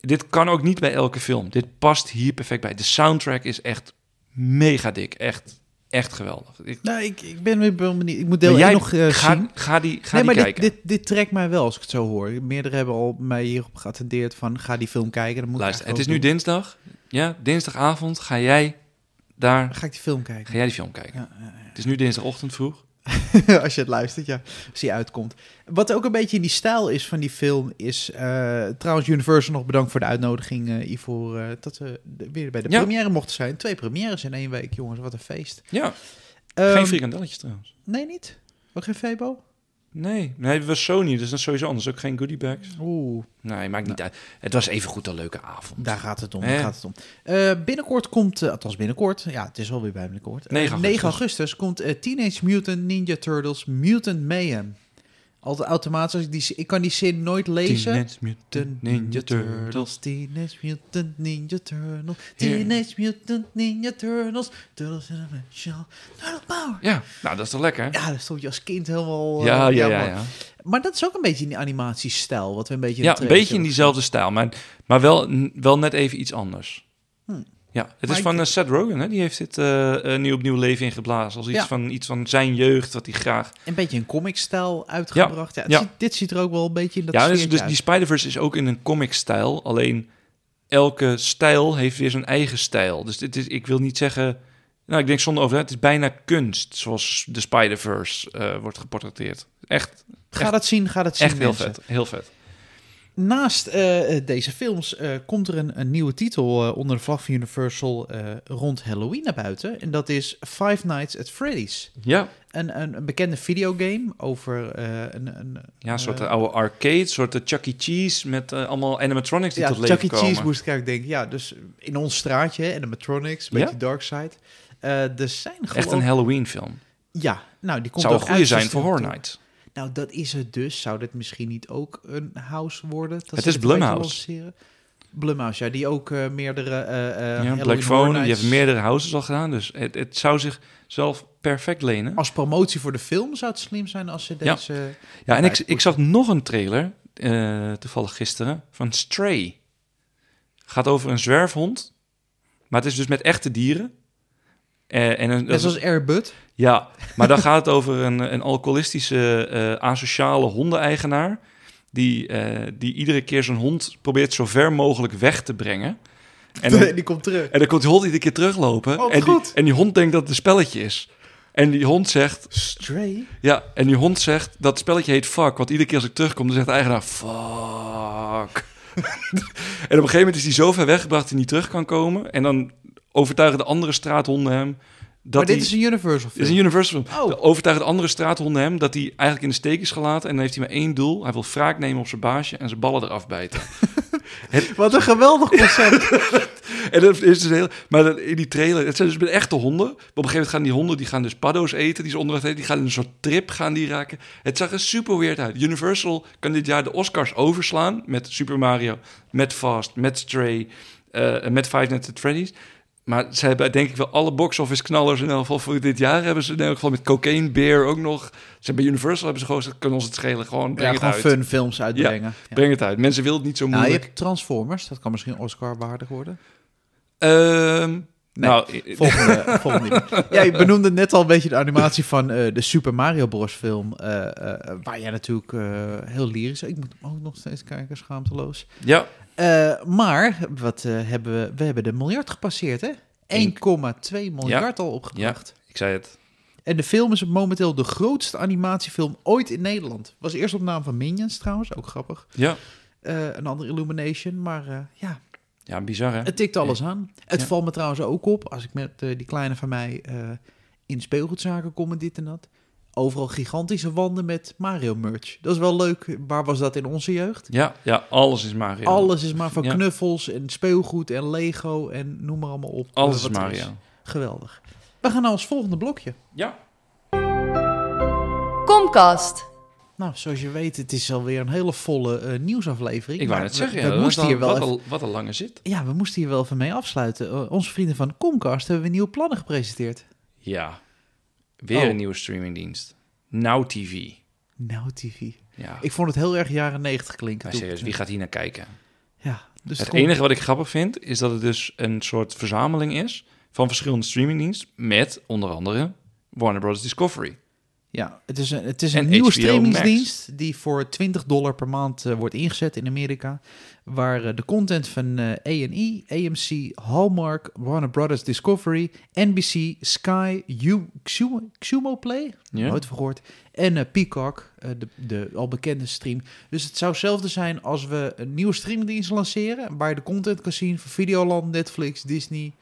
dit kan ook niet bij elke film. Dit past hier perfect bij. De soundtrack is echt mega dik. Echt, echt geweldig. Ik,
Nou, ik, ik ben weer wel benieuwd. Ik moet deel
maar
1 nog eh,
ga,
zien.
Ga die, ga
nee,
die
maar dit,
kijken.
dit, dit trekt mij wel, als ik het zo hoor. Meerdere hebben al mij hierop geattendeerd van ga die film kijken. Dan moet ik
Luister, het is
eigenlijk
nu
ook doen.
dinsdag. Ja, dinsdagavond ga jij daar,
Ga ik die film kijken?
ga jij die film kijken.
Ja,
Het is nu dinsdagochtend vroeg.
als je het luistert, ja. Als die uitkomt. Wat ook een beetje in die stijl is van die film is... eh, trouwens, Universal nog bedankt voor de uitnodiging, eh Ivor. eh, dat we de- weer bij de
Ja.
première mochten zijn. Twee premières in één week, jongens. Wat een feest.
Ja,
Ehm,
geen frikandelletjes trouwens.
Nee, niet? Ook geen Febo?
Nee, nee, het was Sony, dus dat is sowieso anders. Ook geen goodie bags. Nou.
Oeh,
Nee, maakt niet uit. Het was even goed een leuke avond.
daar gaat het om.
Eh.
Daar gaat het om. Eh, binnenkort komt... eh, althans, binnenkort. Ja, het is alweer bij binnenkort. Eh,
9 augustus.
augustus komt eh, Teenage Mutant Ninja Turtles Mutant Mayhem. Altijd automatisch. als Ik, die, ik kan die zin nooit lezen.
Teenage Mutant Ninja Turtles.
Teenage Mutant Ninja Turtles,
Here.
Teenage Mutant Ninja Turtles, Turtles in a Nutshell, Turtle Power.
Ja, nou dat is toch lekker? Ja,
Ja, daar stond je als kind helemaal... eh,
ja, ja. ja,
man. Maar dat is ook een beetje in die animatiestijl, wat we een beetje... in
Ja,
de
een
trailers
beetje in
hebben
diezelfde stijl, maar, maar wel, wel net even iets anders.
Hm.
Ja, het
Maar
is
ik-
van eh, Seth Rogen, hè? die heeft dit eh, eh, nu opnieuw leven ingeblazen. Als iets,
Ja.
van, iets van zijn jeugd, wat hij graag...
gezien. Een beetje een comicstijl uitgebracht. Ja, het
ja.
ziet- dit ziet er ook wel een beetje in dat
ja, dus,
sfeertje
dus
uit.
die Spider-Verse is ook in een comic-stijl. Alleen elke stijl heeft weer zijn eigen stijl. Dus dit is, ik wil niet zeggen... Nou, ik denk zonder over het is bijna kunst, zoals de Spider-Verse eh, wordt geportretteerd. Echt,
Ga dat zien, ga dat zien,
echt heel
mensen.
vet, heel vet.
Naast eh, eh, deze films eh, komt er een, een nieuwe titel eh, onder de vlag van Universal eh, rond Halloween naar buiten. En dat is Five Nights at Freddy's.
Ja,
Een, een, een bekende videogame over eh, een, een
ja een soort
Eh,
eh, oude arcade, een soort eh, Chuck E. Cheese met eh, allemaal animatronics die
ja,
tot leven
Chuck E.
komen.
Cheese moest ik eigenlijk denken. Ja, dus in ons straatje, hè, animatronics, een
Ja.
beetje dark side. Eh, er zijn
Echt
gewoon...
een Halloween film.
Ja, nou die komt
Zou
ook
een goede
uit
zijn voor
systeem
Horror
toe.
Night.
Nou, dat is het dus. Zou dit misschien niet ook een house worden? Dat
Het
ze dit
is
een beetje
Blumhouse.
lanceren? Blumhouse, ja, die ook eh, meerdere... eh, eh,
Ja,
Halloween Horror
Black Phone, die
Nights-
heeft meerdere houses al gedaan. Dus het, het zou zichzelf perfect lenen.
Als promotie voor de film zou het slim zijn als ze
Ja.
deze...
Ja, en
Ja,
ik,
ik-
ik zag nog een trailer, eh, toevallig gisteren, van Stray. Gaat over een zwerfhond, maar het is dus met echte dieren. Eh, en een,
Net zoals Airbud.
Ja, maar dan gaat het over een, een alcoholistische, eh, asociale hondeneigenaar. Die, eh, die iedere keer zijn hond probeert zo ver mogelijk weg te brengen. En dan,
die komt terug.
en dan komt die hond iedere keer teruglopen.
Oh,
en, die,
goed.
en die hond denkt dat het een spelletje is. En die hond zegt,
Stray?
ja, en die hond zegt, dat spelletje heet fuck. Want iedere keer als ik terugkom, dan zegt de eigenaar, fuck. en op een gegeven moment is hij zo ver weggebracht dat hij niet terug kan komen. En dan overtuigen de andere straathonden hem... Dat
maar dit
hij-
is een Universal
dit
film.
is een Universal film.
Oh.
De overtuigen de andere straathonden hem dat hij eigenlijk in de steek is gelaten. En dan heeft hij maar één doel. Hij wil wraak nemen op zijn baasje en zijn ballen eraf bijten.
Wat een geweldig concept.
en dat is dus heel... Maar dat- in die trailer, het zijn dus met echte honden. Maar op een gegeven moment gaan die honden, die gaan dus paddo's eten. Die ze onderweg eten. Die gaan in een soort trip gaan die raken. Het zag er super weird uit. Universal kan dit jaar de Oscars overslaan. Met Super Mario, met Fast, met Stray, eh, met Five Nights at Freddy's. Maar ze hebben denk ik wel alle box-office knallers in elk geval voor dit jaar hebben ze in elk geval met Cocaine Bear ook nog. Ze bij Universal hebben ze gewoon gezegd, kan ons het schelen. Gewoon breng
Ja,
het
gewoon
uit.
fun films uitbrengen. Ja.
Breng het uit. Mensen willen het niet zo
Nou, je
moeilijk.
hebt Transformers. Dat kan misschien Oscar-waardig worden.
Ehm,
Nee,
nou,
Volgende, volgende. Ja, je benoemde net al een beetje de animatie van eh, de Super Mario Bros. film. eh, eh, waar jij natuurlijk eh, heel lyrisch... Ik moet hem ook nog steeds kijken, schaamteloos.
ja,
Eh, maar wat eh, hebben we? We hebben de miljard gepasseerd, hè? 1,2 miljard al opgebracht.
ik zei het.
En de film is momenteel de grootste animatiefilm ooit in Nederland. Was eerst op naam van Minions trouwens, ook grappig.
Ja,
Eh, een andere Illumination, maar eh, ja,
ja bizar hè?
het tikt alles aan. Het
Ja.
valt me trouwens ook op, als ik met eh, die kleine van mij eh, in speelgoedzaken kom en dit en dat. Overal gigantische wanden met Mario merch. Dat is wel leuk. Waar was dat in onze jeugd?
Ja, ja, alles is Mario.
Alles is maar van
Ja.
knuffels en speelgoed en Lego en noem maar allemaal op.
Alles
eh,
is
wat er
Mario.
Geweldig. We gaan naar ons volgende blokje.
Ja.
Comcast.
Nou, zoals je weet, het is alweer een hele volle eh, nieuwsaflevering.
Ik wou
Maar
net zeggen,
we,
ja,
we
dat
moesten
was
hier wel
wat,
even,
een, wat een lange zit.
ja, we moesten hier wel even mee afsluiten. Eh, onze vrienden van Comcast hebben weer nieuwe plannen gepresenteerd.
Ja, weer
Oh.
een nieuwe streamingdienst. Now TV.
Nou, TV.
Ja,
Ik vond het heel erg jaren negentig klinken.
maar
toen.
serieus, wie gaat hier naar kijken?
Ja, dus
Het
Comcast-
enige wat ik grappig vind, is dat het dus een soort verzameling is van verschillende streamingdiensten met onder andere Warner Bros. Discovery.
Ja, het is een, het is een
En
nieuwe
HBO
streamingsdienst die voor 20 dollar per maand eh, wordt ingezet in Amerika. Waar eh, de content van eh A&E, AMC, Hallmark, Warner Brothers Discovery, NBC, Sky, U, Xumo, Xumo Play,
Ja.
nooit van gehoord, en eh, Peacock, eh, de, de al bekende stream. Dus het zou hetzelfde zijn als we een nieuwe streamingdienst lanceren, waar je de content kan zien van Videoland, Netflix, Disney...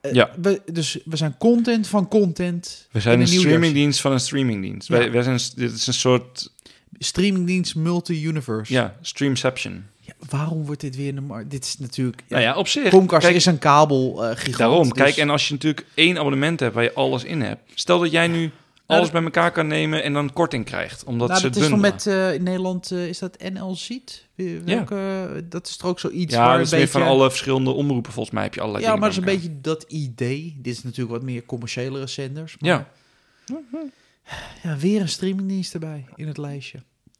Eh,
Ja.
we, dus we zijn content van content.
We zijn
in
een
nieuw jasje.
streamingdienst van een streamingdienst.
Ja.
Wij, wij zijn, dit is een soort
streamingdienst multi-universe.
ja, streamception.
Ja, waarom wordt dit weer een markt? Dit is natuurlijk. Ja,
Nou ja, op zich.
Comcast
Kijk,
is een kabel eh gigant.
Daarom,
dus-
kijk, en als je natuurlijk één abonnement hebt waar je alles in hebt. Stel dat jij nu alles
Nou, dat-
bij elkaar kan nemen en dan korting krijgt, omdat
nou,
ze het
dat is van
bundelen.
met eh, in Nederland eh, is dat NL Ziet. Wel- Welke, Dat is toch ook zoiets.
ja,
waar
dat is
een
meer
beetje,
van alle verschillende omroepen. Volgens mij heb je allerlei
Ja, maar
dingen
dat is een
bij
beetje dat idee. Dit is natuurlijk wat meer commerciëlere zenders. Maar
elkaar.
ja, weer een streamingdienst erbij in het lijstje.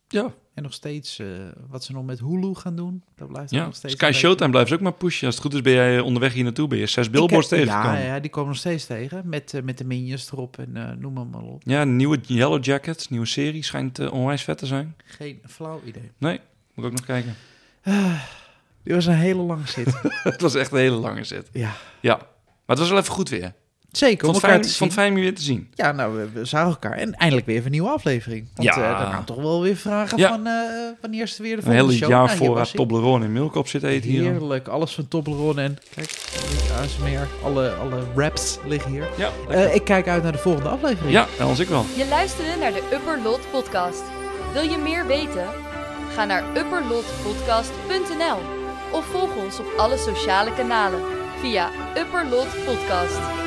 Ja, ja.
En nog steeds eh, wat ze nog met Hulu gaan doen. Dat blijft
Ja,
nog steeds.
Sky
een beetje-
Showtime blijft ze ook maar pushen. Als het goed is ben jij eh, onderweg hier naartoe, ben je zes billboards
Ik heb-
tegengekomen.
Ah, Ja,
Ja,
ja, die komen nog steeds tegen. Met, eh, met de minions erop en eh, noem hem maar op.
nieuwe Yellow Jackets, nieuwe serie, schijnt eh, onwijs vet te zijn.
Geen flauw idee.
Nee, moet ik ook nog kijken.
Dit was een hele lange zit.
het was echt een hele lange zit.
ja.
Ja, maar het was wel even goed weer. Ik
Zeker, om
vond het
elkaar
fijn,
te
vond
zien.
het fijn om je weer te zien.
Ja, nou, we, we zagen elkaar. En eindelijk weer even een nieuwe aflevering. Want
Ja.
ja. dan gaan we toch wel weer vragen
Ja.
van eh, wanneer is het weer de
Een
volgende
hele
show.
jaar
Nou, hier was
voorraad
hij.
Toblerone en Milk op zitten eten hier.
Heerlijk, alles van Toblerone en kijk, ASMR, alle, alle raps liggen hier.
Ja,
Eh, ik kijk uit naar de volgende aflevering.
ja, anders ik wel.
Je luisterde naar de Upper Lot Podcast. Wil je meer weten? Ga naar upperlotpodcast.nl of volg ons op alle sociale kanalen via Upper Lot Podcast.